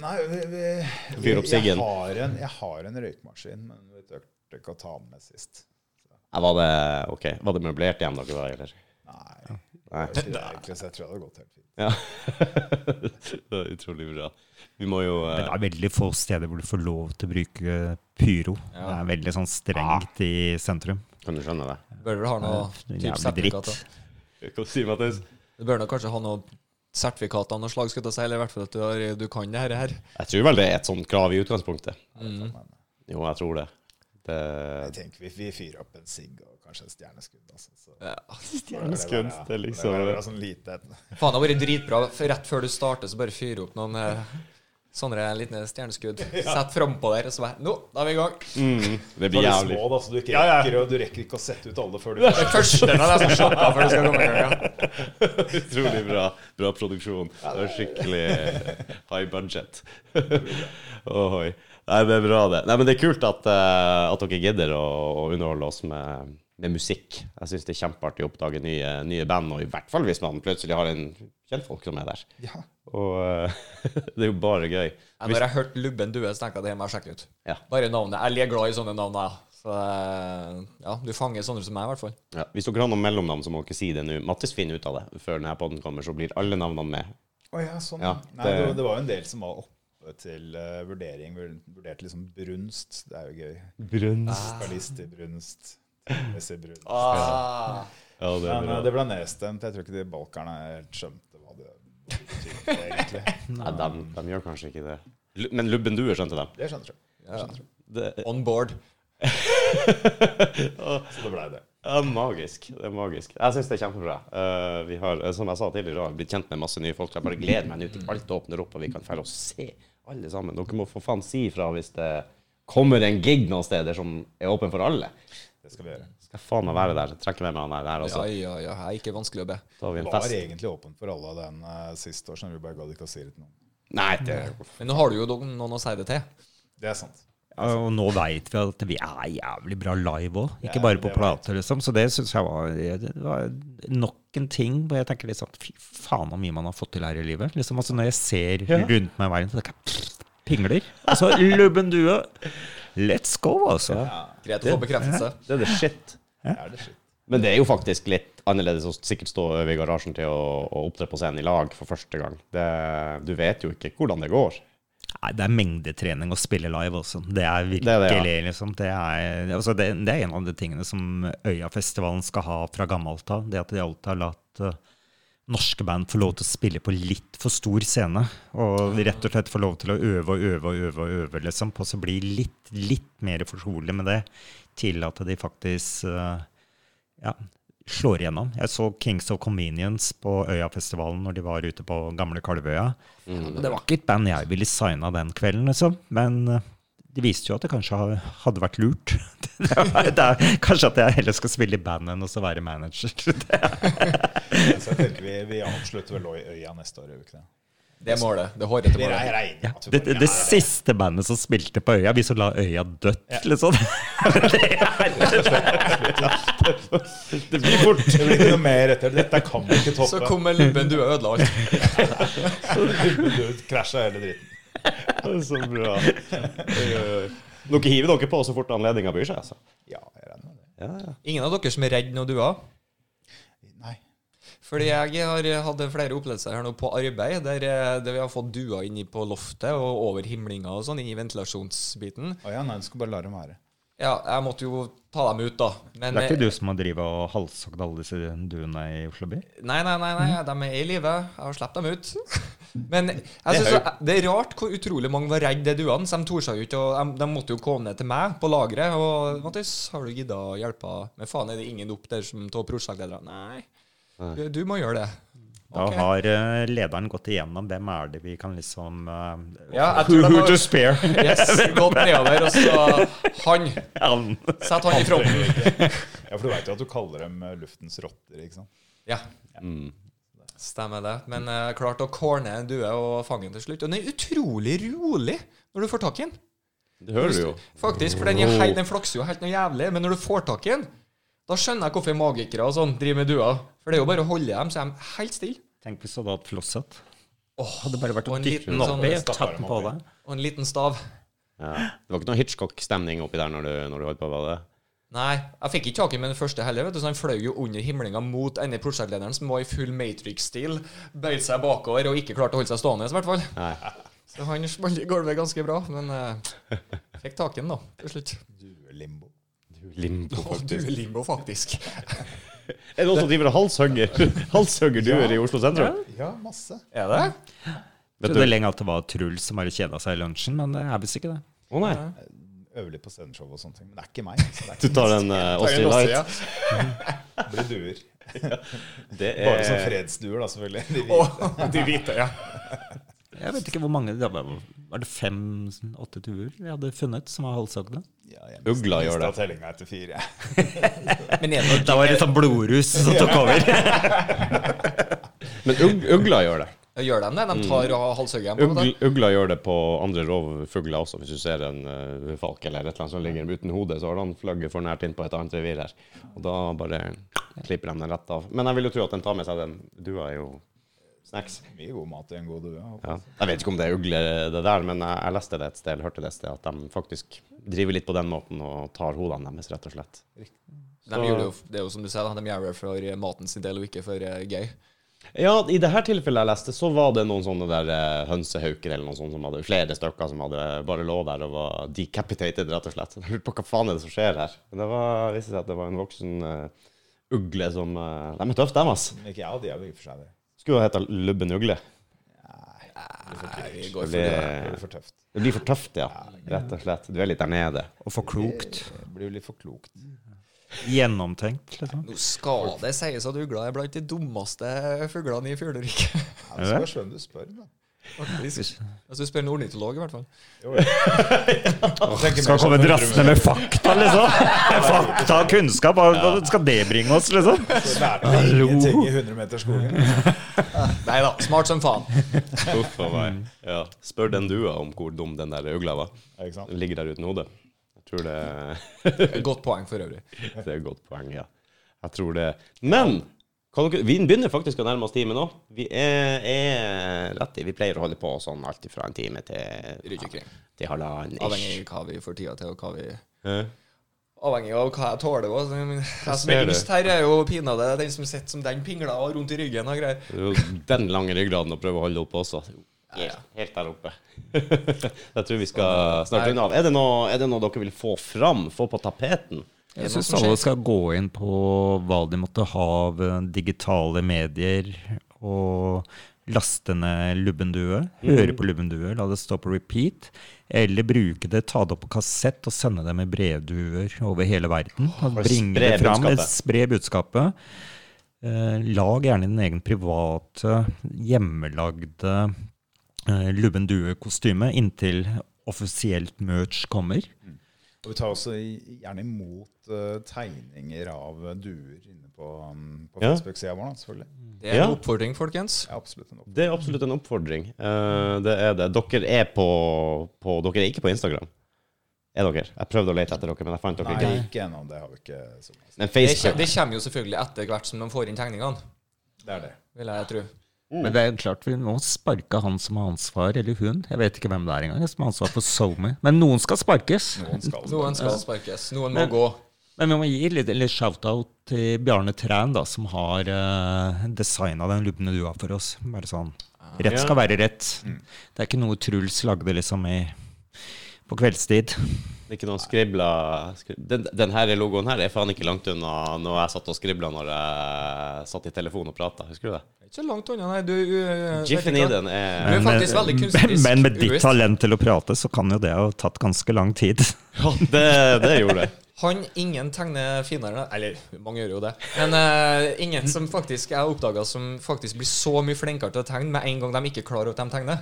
Nei, vi, vi, Fyr opp siggen. Jeg har en, jeg har en røykmaskin, men vi turte ikke å ta den med sist. Nei, Var det, ok, var det møblert hjem dere var i, eller? Nei. Nei. det var ikke det, egentlig, så jeg tror det hadde gått helt fint. Ja. det er utrolig bra. Vi må jo Men eh, det er veldig få steder hvor du får lov til å bruke pyro. Det er veldig sånn strengt i sentrum. Kan du skjønne det? Bør vel ha noe Det er typ jævlig dritt. sertifikat. da. Hva sier Mattis? Du bør nok kanskje ha noe sertifikat av noe slag, skal jeg ta si, eller i hvert fall at du, har, du kan det her. her. Jeg tror vel det er et sånt krav i utgangspunktet. Men Jo, jeg tror det. det jeg tenker vi, vi fyrer opp en sigg og kanskje en stjerneskudd. Altså, så. Stjerneskudd, det er liksom- Det var bare sånn lite et- Faen, det har vært dritbra. For Rett før du starter, så bare fyre opp noen eh, sånne liten stjerneskudd. Sett frampå der, og så bare Nå, da er vi i gang. mm, det Det blir var jævlig. små, da, så du ikke Ja, ja. rekker, og du rekker ikke å sette ut alle før du Den første den er nesten slappa før du skal komme i gang. ja. Utrolig bra. Bra produksjon. Det var skikkelig eh, high budget. Ohoi. Nei, det er bra, det. Nei, men det er kult at, eh, at dere gidder å, å underholde oss med, med musikk. Jeg syns det er kjempeartig å oppdage nye, nye band, og i hvert fall hvis man plutselig har en kjentfolk som er der. Ja. Og eh, det er jo bare gøy. Jeg, når jeg hørte Lubben Due, så tenkte jeg det her må jeg sjekke ut. Ja. Bare navnet. Jeg er glad i sånne navn, jeg. Så eh, ja, du fanger sånne som meg, i hvert fall. Ja. Hvis dere har noen mellomnavn, så må dere si det nå. Mattis finner ut av det før denne podden kommer, så blir alle navnene med. Å ja, sånn. Ja, Nei, det, det- det var jo en del som var oppe til eh, vurdering. vur- Vurderte liksom brunst. Det er jo gøy. Brunst. Skalister brunst. Messi brunst. Ah. Ja, det er Men bra. eh, det ble nedstemt. Jeg tror ikke de balkerne helt skjønte hva det betydde, egentlig. Nei, de, de gjør kanskje ikke det. Lu- Men lubben duer skjønte dem. Det skjønner du. Ja. Det On board. Så det blei det. er magisk. Det er magisk. Jeg syns det er kjempebra. Eh, vi har, eh, som jeg sa tidligere, har blitt kjent med masse nye folk. Jeg bare gleder meg nå til alt åpner opp, og vi kan dra og se alle sammen. Dere må for faen si ifra hvis det kommer en gig noen steder som er åpen for alle. Det skal vi gjøre. Skal jeg faen meg være der. Trekker med meg han her, her Ja, også. ja, ja. Jeg er ikke vanskelig å be. Da har vi Det en var fest. egentlig åpent for alle den eh, sist år, så vi bare gadd ikke å si det til noen. Nei, det Men nå har du jo noen å si det til. Det er sant. Ja, Og nå veit vi at vi er jævlig bra live òg, Ja, ikke bare på det plate. Liksom. Så det syns jeg var, det var nok en ting hvor jeg tenker liksom, fy faen så mye man har fått til her i livet. Liksom, altså Når jeg ser rundt meg i verden, så tenker jeg pff, pingler. Og så lubben due. Let's go, altså. Greit å få bekreftelse. Det er det shit. Er det shit? Men det er jo faktisk litt annerledes å sikkert stå og øve i garasjen til å, å opptre på scenen i lag for første gang. Det, du vet jo ikke hvordan det går. Nei, det er mengdetrening å spille live også. Det er det, ja. virkelig liksom. Det er, altså det, det er en av de tingene som Øyafestivalen skal ha fra gammelt av. Det at de alltid har latt eh, norske band få lov til å spille på litt for stor scene. Og rett og slett få lov til å øve og øve og øve, og øve liksom, på å bli litt, litt mer fortrolig med det, til at de faktisk eh, ja, slår igjennom. Jeg så Kings of Convenience på Øyafestivalen når de var ute på gamle Kalvøya. Og Det var ikke et band jeg ville signa den kvelden, liksom. Men eh, det viste jo at det kanskje ha- hadde vært lurt. Det er, det er, kanskje at jeg heller skal spille i band enn å så være manager. Det er, Så jeg tenker vi, vi avslutter vel Øy- Øya neste år, gjør vi ikke det? Det er målet. Det er hårete Vi målet. regner med at vi det, bare- det siste bandet som spilte på Øya, vi som la Øya dødt, liksom. Det blir fort. Det blir ikke noe mer etter. Dette kan vi ikke Så toppe. kommer lubben du har ødela alt. Du krasja hele dritten. Så bra. Dere hiver dere på så fort anledninga byr seg, altså. Ja, jeg regner med det. Ja, ja. Ingen av dere som er redd noen duer? Nei. Fordi jeg har hatt flere opplevelser her nå på arbeid, der, eh, der vi har fått duer inni på loftet og over himlinga og sånn, inni ventilasjonsbiten. Å ja, nei, du skal bare la dem være. Ja, jeg måtte jo ta dem ut, da. Men, Det er ikke eh, du som har drevet og halshogd alle disse duene i Oslo by? eh, Nei, nei, nei, nei, de er i live. Jeg har sluppet dem ut. Men jeg er synes jo- det er rart hvor utrolig mange var redd de duene. Så de torde seg jo ikke, og de, de måtte jo komme ned til meg på lageret. Og 'Mattis, har du gidda å hjelpe?' Men faen, er det ingen opp der som av prosjektlederne? Nei, du, du må gjøre det. Da Ok. har eh, lederen gått igjennom hvem er det vi kan liksom eh, Ja, jeg who, tror de who har- to spare? Yes, gått nedover, og så Han! Han. Sett han i fronten. Ja, for du veit jo at du kaller dem eh, luftens rotter, ikke sant? Ja. Stemmer det. Men jeg klarte å corne en due og fange den til slutt. Og den er utrolig rolig når du får tak i den. Det hører du jo. Faktisk, for den, er hei, den flakser jo helt noe jævlig. Men når du får tak i den, da skjønner jeg hvorfor magikere og sånn driver med duer. For det er jo bare å holde dem, så er de helt stille. Tenk hvis du hadde hatt flosset. hadde bare vært og å en dytte liten den oppi, sånn- tatt den på deg. Og en liten stav. Ja. Det var ikke noe Hitchcock-stemning oppi der når du, når du holdt på med det? Nei, jeg fikk ikke tak i den med den første heller, vet du, så han fløy jo under himlinga mot denne prosjektlederen som var i full Matrix-stil, bøyd seg bakover og ikke klarte å holde seg stående, i hvert fall. Nei. Så han smalt i gulvet ganske bra, men eh, fikk tak i den da, til slutt. Duelimbo. Limbo, Og du faktisk. er limbo, faktisk. Er det noen som driver og halshugger halshuggerduer i Oslo sentrum? Ja, masse. Er det? Vet Trodde lenge at det var Truls som bare kjeda seg i lunsjen, men det er visst ikke det. Å nei. Øver litt på sceneshow og sånne ting. Men det er ikke meg. Så det er Du ikke tar en uh, Austin Light. Det blir duer. Det er Bare som fredsduer, da, selvfølgelig. De hvite. de hvite, ja. Jeg vet ikke hvor mange det var, var det fem-åtte duer vi hadde funnet som var halshogde? Ja, jeg Ugla mista- gjør det. mista tellinga etter fire. Men er det Da var det sånn blodrus som tok over. Men ug, ugla gjør det. Gjør de det? De Mm. tar og halshugger dem? på Ugl, det? ugla gjør det på andre rovfugler også. Hvis du ser en eh, falk eller et eller annet som ligger uten hode, så har han flagget for nært inn på et annet revir her. Og da bare klipper de den rett av. Men jeg vil jo tro at den tar med seg den. Dua er jo snacks. Mye god mat i en god due. jeg håper. Ja. Jeg vet ikke om det er ugle, det der, men jeg, jeg leste det et sted, eller hørte det et sted, at de faktisk driver litt på den måten og tar hodene deres, rett og slett. De gjør det, jo, det er jo som du sier, da, de gjør det for eh, maten sin del og ikke for eh, gøy. Ja, i det her tilfellet jeg leste, så var det noen sånne der eh, hønsehauker eller noe sånt som hadde flere stykker som hadde eh, bare lå der og var decapitated, rett og slett. Jeg lurte på hva faen er det som skjer her. Men det var, viste seg at det var en voksen eh, ugle som eh, De er tøffe, dem, ass. Men ikke jeg og de er jo i og for seg det. Skulle ha heta Lubben ugle. Nei, vi går for Det, det. Det blir for tøft. det blir for tøft, ja. Rett og slett. Du er litt der nede. Og for klokt. Det blir jo litt for klokt. Mm. Gjennomtenkt, liksom. Nå skal det sies at ugla er blant de dummeste fuglene i fugleriket. Ja, det skal være skjønn du spør, da. Faktisk. Altså, du spør en ornitolog, i hvert fall. Jo, jo. Skal komme drassende med fakta, liksom? Fakta og kunnskap, hva hva skal det bringe oss, liksom? Så lærte meg Hallo. ingenting i 100 meters skogen. Nei da, smart som faen. Uff a meg. Ja. Spør den dua om hvor dum den der øgla var. Ja, ikke sant? Den ligger der uten hodet. Jeg tror det, Godt poeng for øvrig. det er et godt poeng, ja. Jeg tror det. Men kan dere, vi begynner faktisk å nærme oss timen nå. Vi er, er rett i Vi pleier å holde på sånn alt fra en time til, Rundt omkring. til halvannen. ish. Avhengig av hva vi får tida til, og hva vi Hæ? Avhengig av hva jeg tåler også. Jeg mener, Jeg som ser er du. yngst her, er jo pinadø den som sitter som den pingla og rundt i ryggen og greier. Det er jo Den lange ryggraden å prøve å holde oppe også. Helt, helt der oppe. Jeg tror vi skal snart runde av. Er det, noe, er det noe dere vil få fram? Få på tapeten? Er det Jeg noe syns som alle skjer? skal gå inn på hva de måtte ha av eh, digitale medier, og laste ned Lubbendue. Høre på Lubbendue, la det stå på repeat. Eller bruke det, ta det opp på kassett og sende det med brevduer over hele verden. Og Bare bringe spre det fram, budskapet. eh, spre budskapet. Eh, Lag gjerne din egen private, hjemmelagde eh, Lubbendue-kostyme inntil offisielt merch kommer. Og vi tar også i- gjerne imot eh, tegninger av eh, duer inne på, um, på Ja. Facebook-sida vår, da, selvfølgelig. Det er en Ja. oppfordring, folkens. Ja, absolutt. en opp- Det er absolutt en oppfordring. Eh, det er det. Dere er på, på Dere er ikke på Instagram? Er dere? Jeg prøvde å lete etter dere, men jeg fant dere Nei, ikke. ikke ennå. Det har vi ikke altså. så mye. Men Det, kje- Facebook det kommer jo selvfølgelig etter hvert som de får inn tegningene, Det er det. vil jeg tro. Men det er jo klart vi må sparke han som har ansvar, eller hun. Jeg vet ikke hvem det er engang. Som har ansvar for SoMe. Men noen skal sparkes. Noen skal Noen skal sparkes, noen må gå. Men vi må gi litt, litt shout-out til Bjarne Træn, da, som har uh, designa den lubne dua for oss. Bare sånn. Rett skal være rett. Det er ikke noe Truls lagde liksom i, på kveldstid. Det er ikke noen skribla skri- den, den her logoen her er faen ikke langt unna når jeg satt og skribla når jeg satt i telefonen og prata. Husker du det? Det er Ikke langt unna, nei. Du, uh, Jiffen i den er Du er faktisk veldig kunstnerisk men med ditt ubevisst. talent til å prate, så kan jo det ha tatt ganske lang tid. Ja, det, det gjorde det. Han ingen tegner finere Eller mange gjør jo det. Men eh, ingen som faktisk jeg oppdaga som faktisk blir så mye flinkere til å tegne med en gang de ikke klarer at de tegner.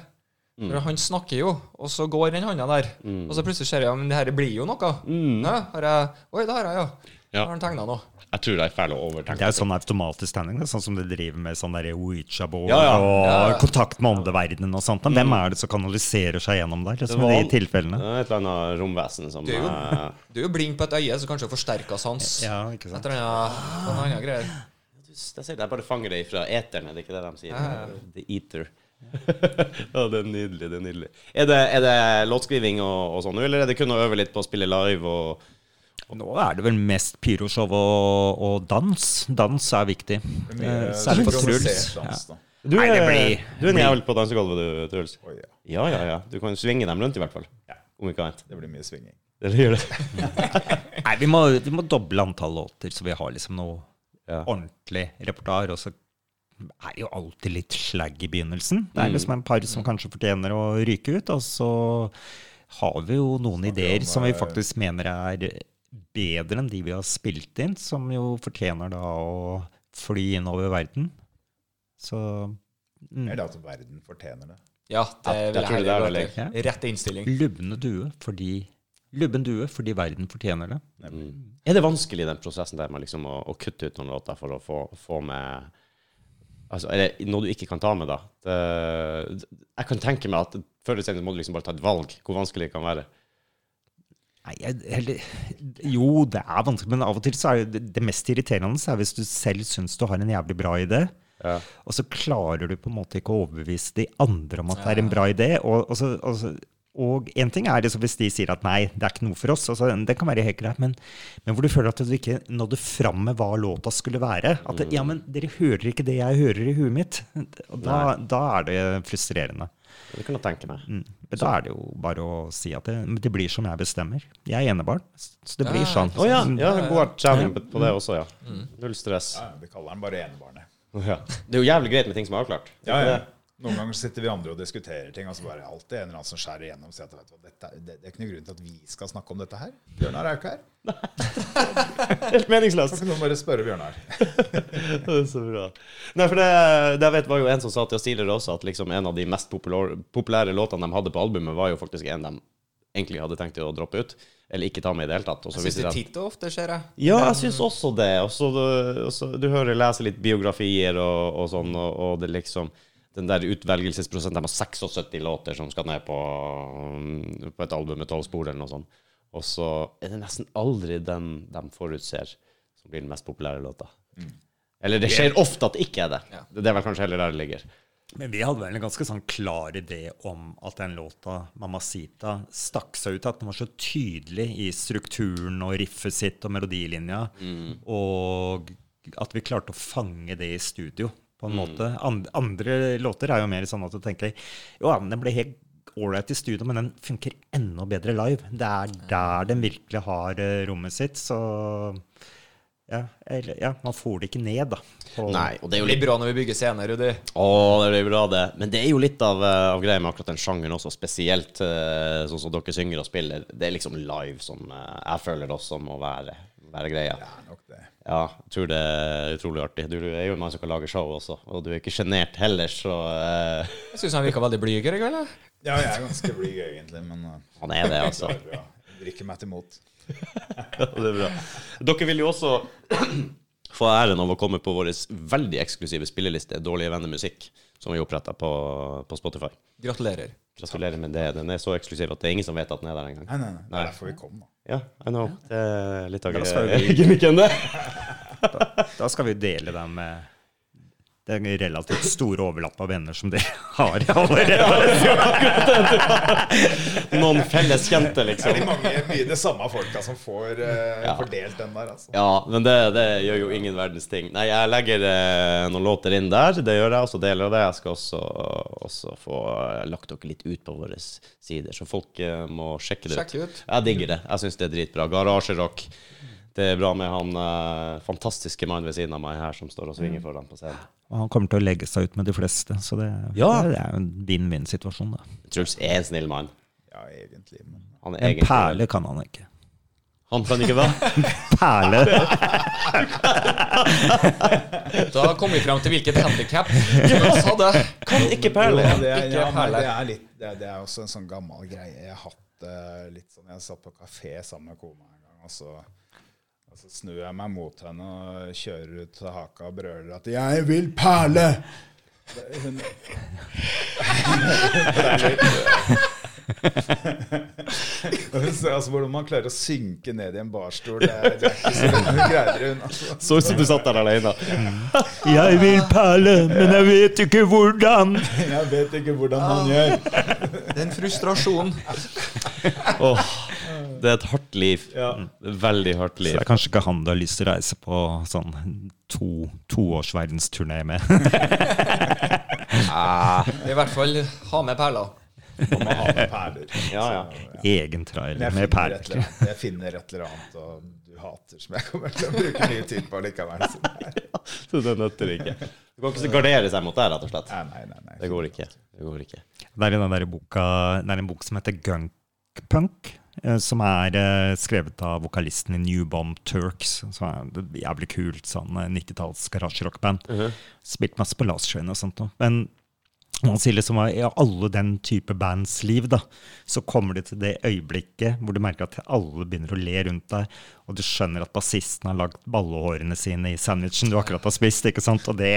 Mm. For han snakker jo, og så går den handa der. Og så plutselig ser jeg ja, men det her blir jo noe. Nei, har jeg, Oi, det har jeg, ja. Mm. Ja. Har han tegna nå? Jeg tror det er fælt å overtenke. Det er jo sånn automatisk tegning, det er sånn som de driver med sånn der Ouija-board Ja, ja. og Ja, ja. kontakt med åndeverdenen og sånt. Men hvem er det som kanaliserer seg gjennom der, liksom, i de var- tilfellene? Det er et eller annet romvesen som Det er jo- eh, Du er jo blind på et øye, så kanskje forsterka sans. Ja, ikke sant. Et eller annet noen andre greier. Du, Jeg sier det, jeg bare fanger det fra eteren, er det ikke det de sier? Ja, ja, The eater. ja, det er nydelig, det er nydelig. Er det, er det låtskriving og, og sånn, nå, eller er det kun å øve litt på å spille live og Nå er det vel mest pyroshow og, og dans. Dans er viktig. Eh, Særlig for Truls. improvisert dans, da. du Nei, er, det blir- du er en jævel på dansegulvet, du, Truls. Oi, ja. Ja, ja, ja. Du kan svinge dem rundt, i hvert fall. Om ikke annet. Det blir mye svinging. Det gjør det. Nei, vi må, vi må doble antall låter, så vi har liksom noe Ja. ordentlig repertoar. Og så er det jo alltid litt slagg i begynnelsen. Det er liksom en par som kanskje fortjener å ryke ut. Og så har vi jo noen ideer som vi faktisk mener er bedre enn de vi har spilt inn, som jo fortjener da å fly innover verden. Så mm. Eller at verden fortjener det. Ja, det Ja, jeg vil jeg tror det heller er gå veldig- etter. Rett innstilling. Lubne due fordi Lubben due fordi verden fortjener det. Mm. Er det vanskelig, den prosessen der med liksom å, å kutte ut noen låter for å få, få med Altså, er det noe du ikke kan ta med, da? Det, jeg kan tenke meg at før eller senere må du liksom bare ta et valg, hvor vanskelig det kan være. Nei, jeg, heller, jo, det er vanskelig, men av og til så er jo det, det mest irriterende er hvis du selv syns du har en jævlig bra idé, og så klarer du på en måte ikke å overbevise de andre om at det er en bra idé. Og, og, så, og, så, og en ting er liksom hvis de sier at nei, det er ikke noe for oss, altså, det kan være helt greit, men, men hvor du føler at du ikke nådde fram med hva låta skulle være. At ja, men dere hører ikke det jeg hører i huet mitt. Og da, da er det frustrerende. Det kan jeg tenke meg. Mm. Men da er det jo bare å si at det, men det blir som jeg bestemmer. Jeg er enebarn, så det blir sånn. Å ja, ja, god erkjenning på- på det også, ja. Null stress. Ja, vi kaller den bare enebarnet. Ja. Det er jo jævlig greit med ting som er avklart. Ja, ja. Noen ganger sitter vi andre og diskuterer ting, og så bare alltid en eller annen som skjærer igjennom og sier at vet du hva, dette, er- det, det er ikke noe grunn til at vi skal snakke om dette her. Bjørnar er jo ikke her. Helt meningsløst. Kan ikke noen bare spørre Bjørnar? Det er så bra. Nei, for det, det jeg vet var jo en som sa til oss tidligere også, at liksom en av de mest popular, populære låtene de hadde på albumet, var jo faktisk en de egentlig hadde tenkt å droppe ut, eller ikke ta med i det hele tatt. Og så Jeg syns viser det det seg- titt og ofte skjer, jeg. ja, jeg syns også det. Og så, og så, du hører leser litt biografier og, og sånn, og, og det liksom den der utvelgelsesprosenten De har 76 låter som skal ned på, mm, på et album med tolv spor, eller noe sånt. Og så er det nesten aldri den de forutser som blir den mest populære låta. Eller Mm. det skjer ofte at det ikke er det. Ja. Det er vel kanskje heller der det ligger. Men vi hadde vel en ganske sånn klar idé om at den låta, 'Mamacita', stakk seg ut. At den var så tydelig i strukturen og riffet sitt og melodilinja. Og at vi klarte å fange det i studio, på en måte. And, andre låter er jo mer sånn at du tenker Jo, ja, men den ble helt ålreit i studio, men den funker enda bedre live. Det er der den virkelig har eh, rommet sitt. Så ja, eller, ja, man får det ikke ned, da. på- Nei, og det Det er jo blir litt bra når vi bygger scener, Rudi. Å, det blir bra, det. Men det er jo litt av, eh, av greia med akkurat den sjangeren også, spesielt eh, sånn som dere synger og spiller. Det er liksom live som eh, jeg føler også må være, være greia. Det er nok det. Ja, jeg tror det er utrolig artig. Du er jo en mann som kan lage show også, og du er ikke sjenert heller, så eh, Jeg syns han virka veldig blyger i kveld. jeg. Ja, jeg er ganske blyg egentlig, men eh, han er det, det altså. er bra. Jeg Drikker meg til mot. det er bra. Dere vil jo også få æren av å komme på vår veldig eksklusive spilleliste, Dårlige venner musikk, som vi oppretta på, på Spotify. Gratulerer. Gratulerer med det. Den er så eksklusiv at det er ingen som vet at den er der engang. Nei, nei, nei. Det Nei. er derfor vi kom, da. Ja, I know. Det er litt av Men da skal vi- gimmicken, det. Da skal vi dele den med den relativt store overlapp av venner som dere har allerede. Noen felles kjente, Det er liksom. de mange, mye de samme folka som får eh, Ja. fordelt den der, altså. Ja, men det, det gjør jo ingen verdens ting. Nei, jeg legger eh, noen låter inn der. Det gjør jeg, og så deler jeg det. Jeg skal også, også få eh, lagt dere litt ut på våre sider, så folk eh, må sjekke det Sjekk ut. ut. Jeg digger det. Jeg syns det er dritbra. Garasjerock. Det er bra med han eh, fantastiske mannen ved siden av meg her som står og Mm. svinger foran på scenen. Og han kommer til å legge seg ut med de fleste, så det, Ja. det er jo en vinn-vinn-situasjon. da. Truls er en snill mann. Ja, egentlig. Men uh, Han er En egentlig- perle kan han ikke. Han kan ikke hva? Perle! Da kom vi fram til hvilket handikap Jonas hadde. Kan ikke perle. Jo, det, er, Ikke ja, men perle. det, er litt, det, er, det er også en sånn gammel greie. Jeg har hatt eh, litt sånn Jeg satt på kafé sammen med kona en gang, og så, og så snur jeg meg mot henne og kjører ut til haka og brøler at 'Jeg vil perle'! Det- Hun, Det er litt- Og hun sa, altså, hvordan man klarer å synke ned i en barstol, det er, det er ikke så hun greier hun. Altså. Så ut som du satt der alene. Jeg vil perle, men jeg vet ikke hvordan! Jeg vet ikke hvordan man gjør. Den frustrasjonen. Åh, det er et hardt liv. Ja. Veldig hardt Så liv. det er kanskje ikke han du har lyst til å reise på sånn to, toårsverdensturné med. I hvert fall ha med perler. Om å ha med perler. Ja, ja. Så, Egen Men trailer jeg med finner, et eller perler. annet, jeg finner et eller annet og du hater, som jeg kommer til å bruke mye tid på likevel. Så nei, Så det nøtter ikke. Du kan ikke gardere seg mot det, rett og slett. nei, nei, nei, nei. Det går ikke. Det går ikke. Det er, i den der boka, det er en bok som heter Gunk Punk, eh, som er eh, skrevet av vokalisten i New Bomb Turks, som er et jævlig kult sånn eh, 90-talls garasjerockband. Spilt masse på Last-showene og sånt. Da. Men man sier liksom at i alle den type bands liv, da, så kommer du til det øyeblikket hvor du merker at alle begynner å le rundt deg, og du skjønner at bassisten har lagt ballehårene sine i sandwichen du akkurat har spist, ikke sant? Og det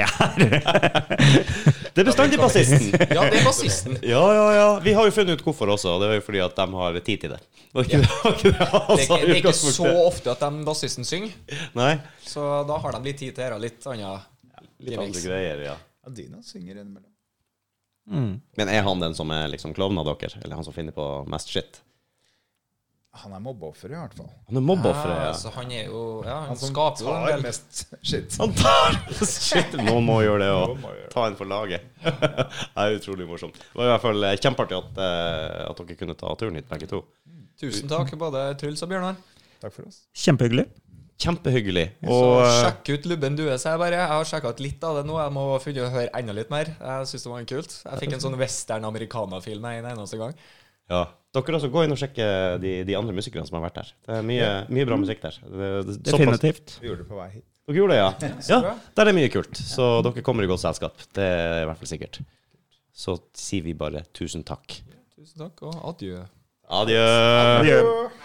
Det er bestandig bassisten. Ja, det er bassisten. Ja, ja, ja. Vi har jo funnet ut hvorfor også, og det er jo fordi at de har tid til det. Var ikke det, var ikke det han Det sa er ikke, i det er ikke utgangspunktet? så ofte at den bassisten synger, Nei. så da har de litt tid til å gjøre litt annet. Litt andre greier, ja. Ja, Dino synger innimellom. Men er han den som er liksom klovnen av dere? Eller han som finner på mest shit? Han er mobbeoffer, i hvert fall. Han er mobbeofferet, Ja, ja. så han er jo ja, han, Han som skaper jo tar en del. mest shit. Han tar Shit, noen må gjøre det Noen må òg. gjøre det. Ta en for laget. Det er utrolig morsomt. Det var i hvert fall eh, kjempeartig at, eh, at dere kunne ta turen hit, begge to. Tusen takk, både Truls og Bjørnar. Takk for oss. Kjempehyggelig. Kjempehyggelig. Så Og eh, sjekk ut Lubben Due, sier jeg bare. Jeg har sjekka ut litt av det nå. Jeg må finne å høre enda litt mer. Jeg syns det var kult. Jeg fikk en sånn western americana-film en eneste gang. ja, dere også, gå inn og sjekke de, de andre musikerne som har vært der. Det er mye, mye bra musikk der. Det, det, såpass- Definitivt. Vi gjorde det på vei hit. Dere gjorde det, ja. ja. bra. Der er mye kult. Så dere kommer i godt selskap. Det er i hvert fall sikkert. Så sier vi bare tusen takk. Tusen takk, og adjø. Adjø. Adjø.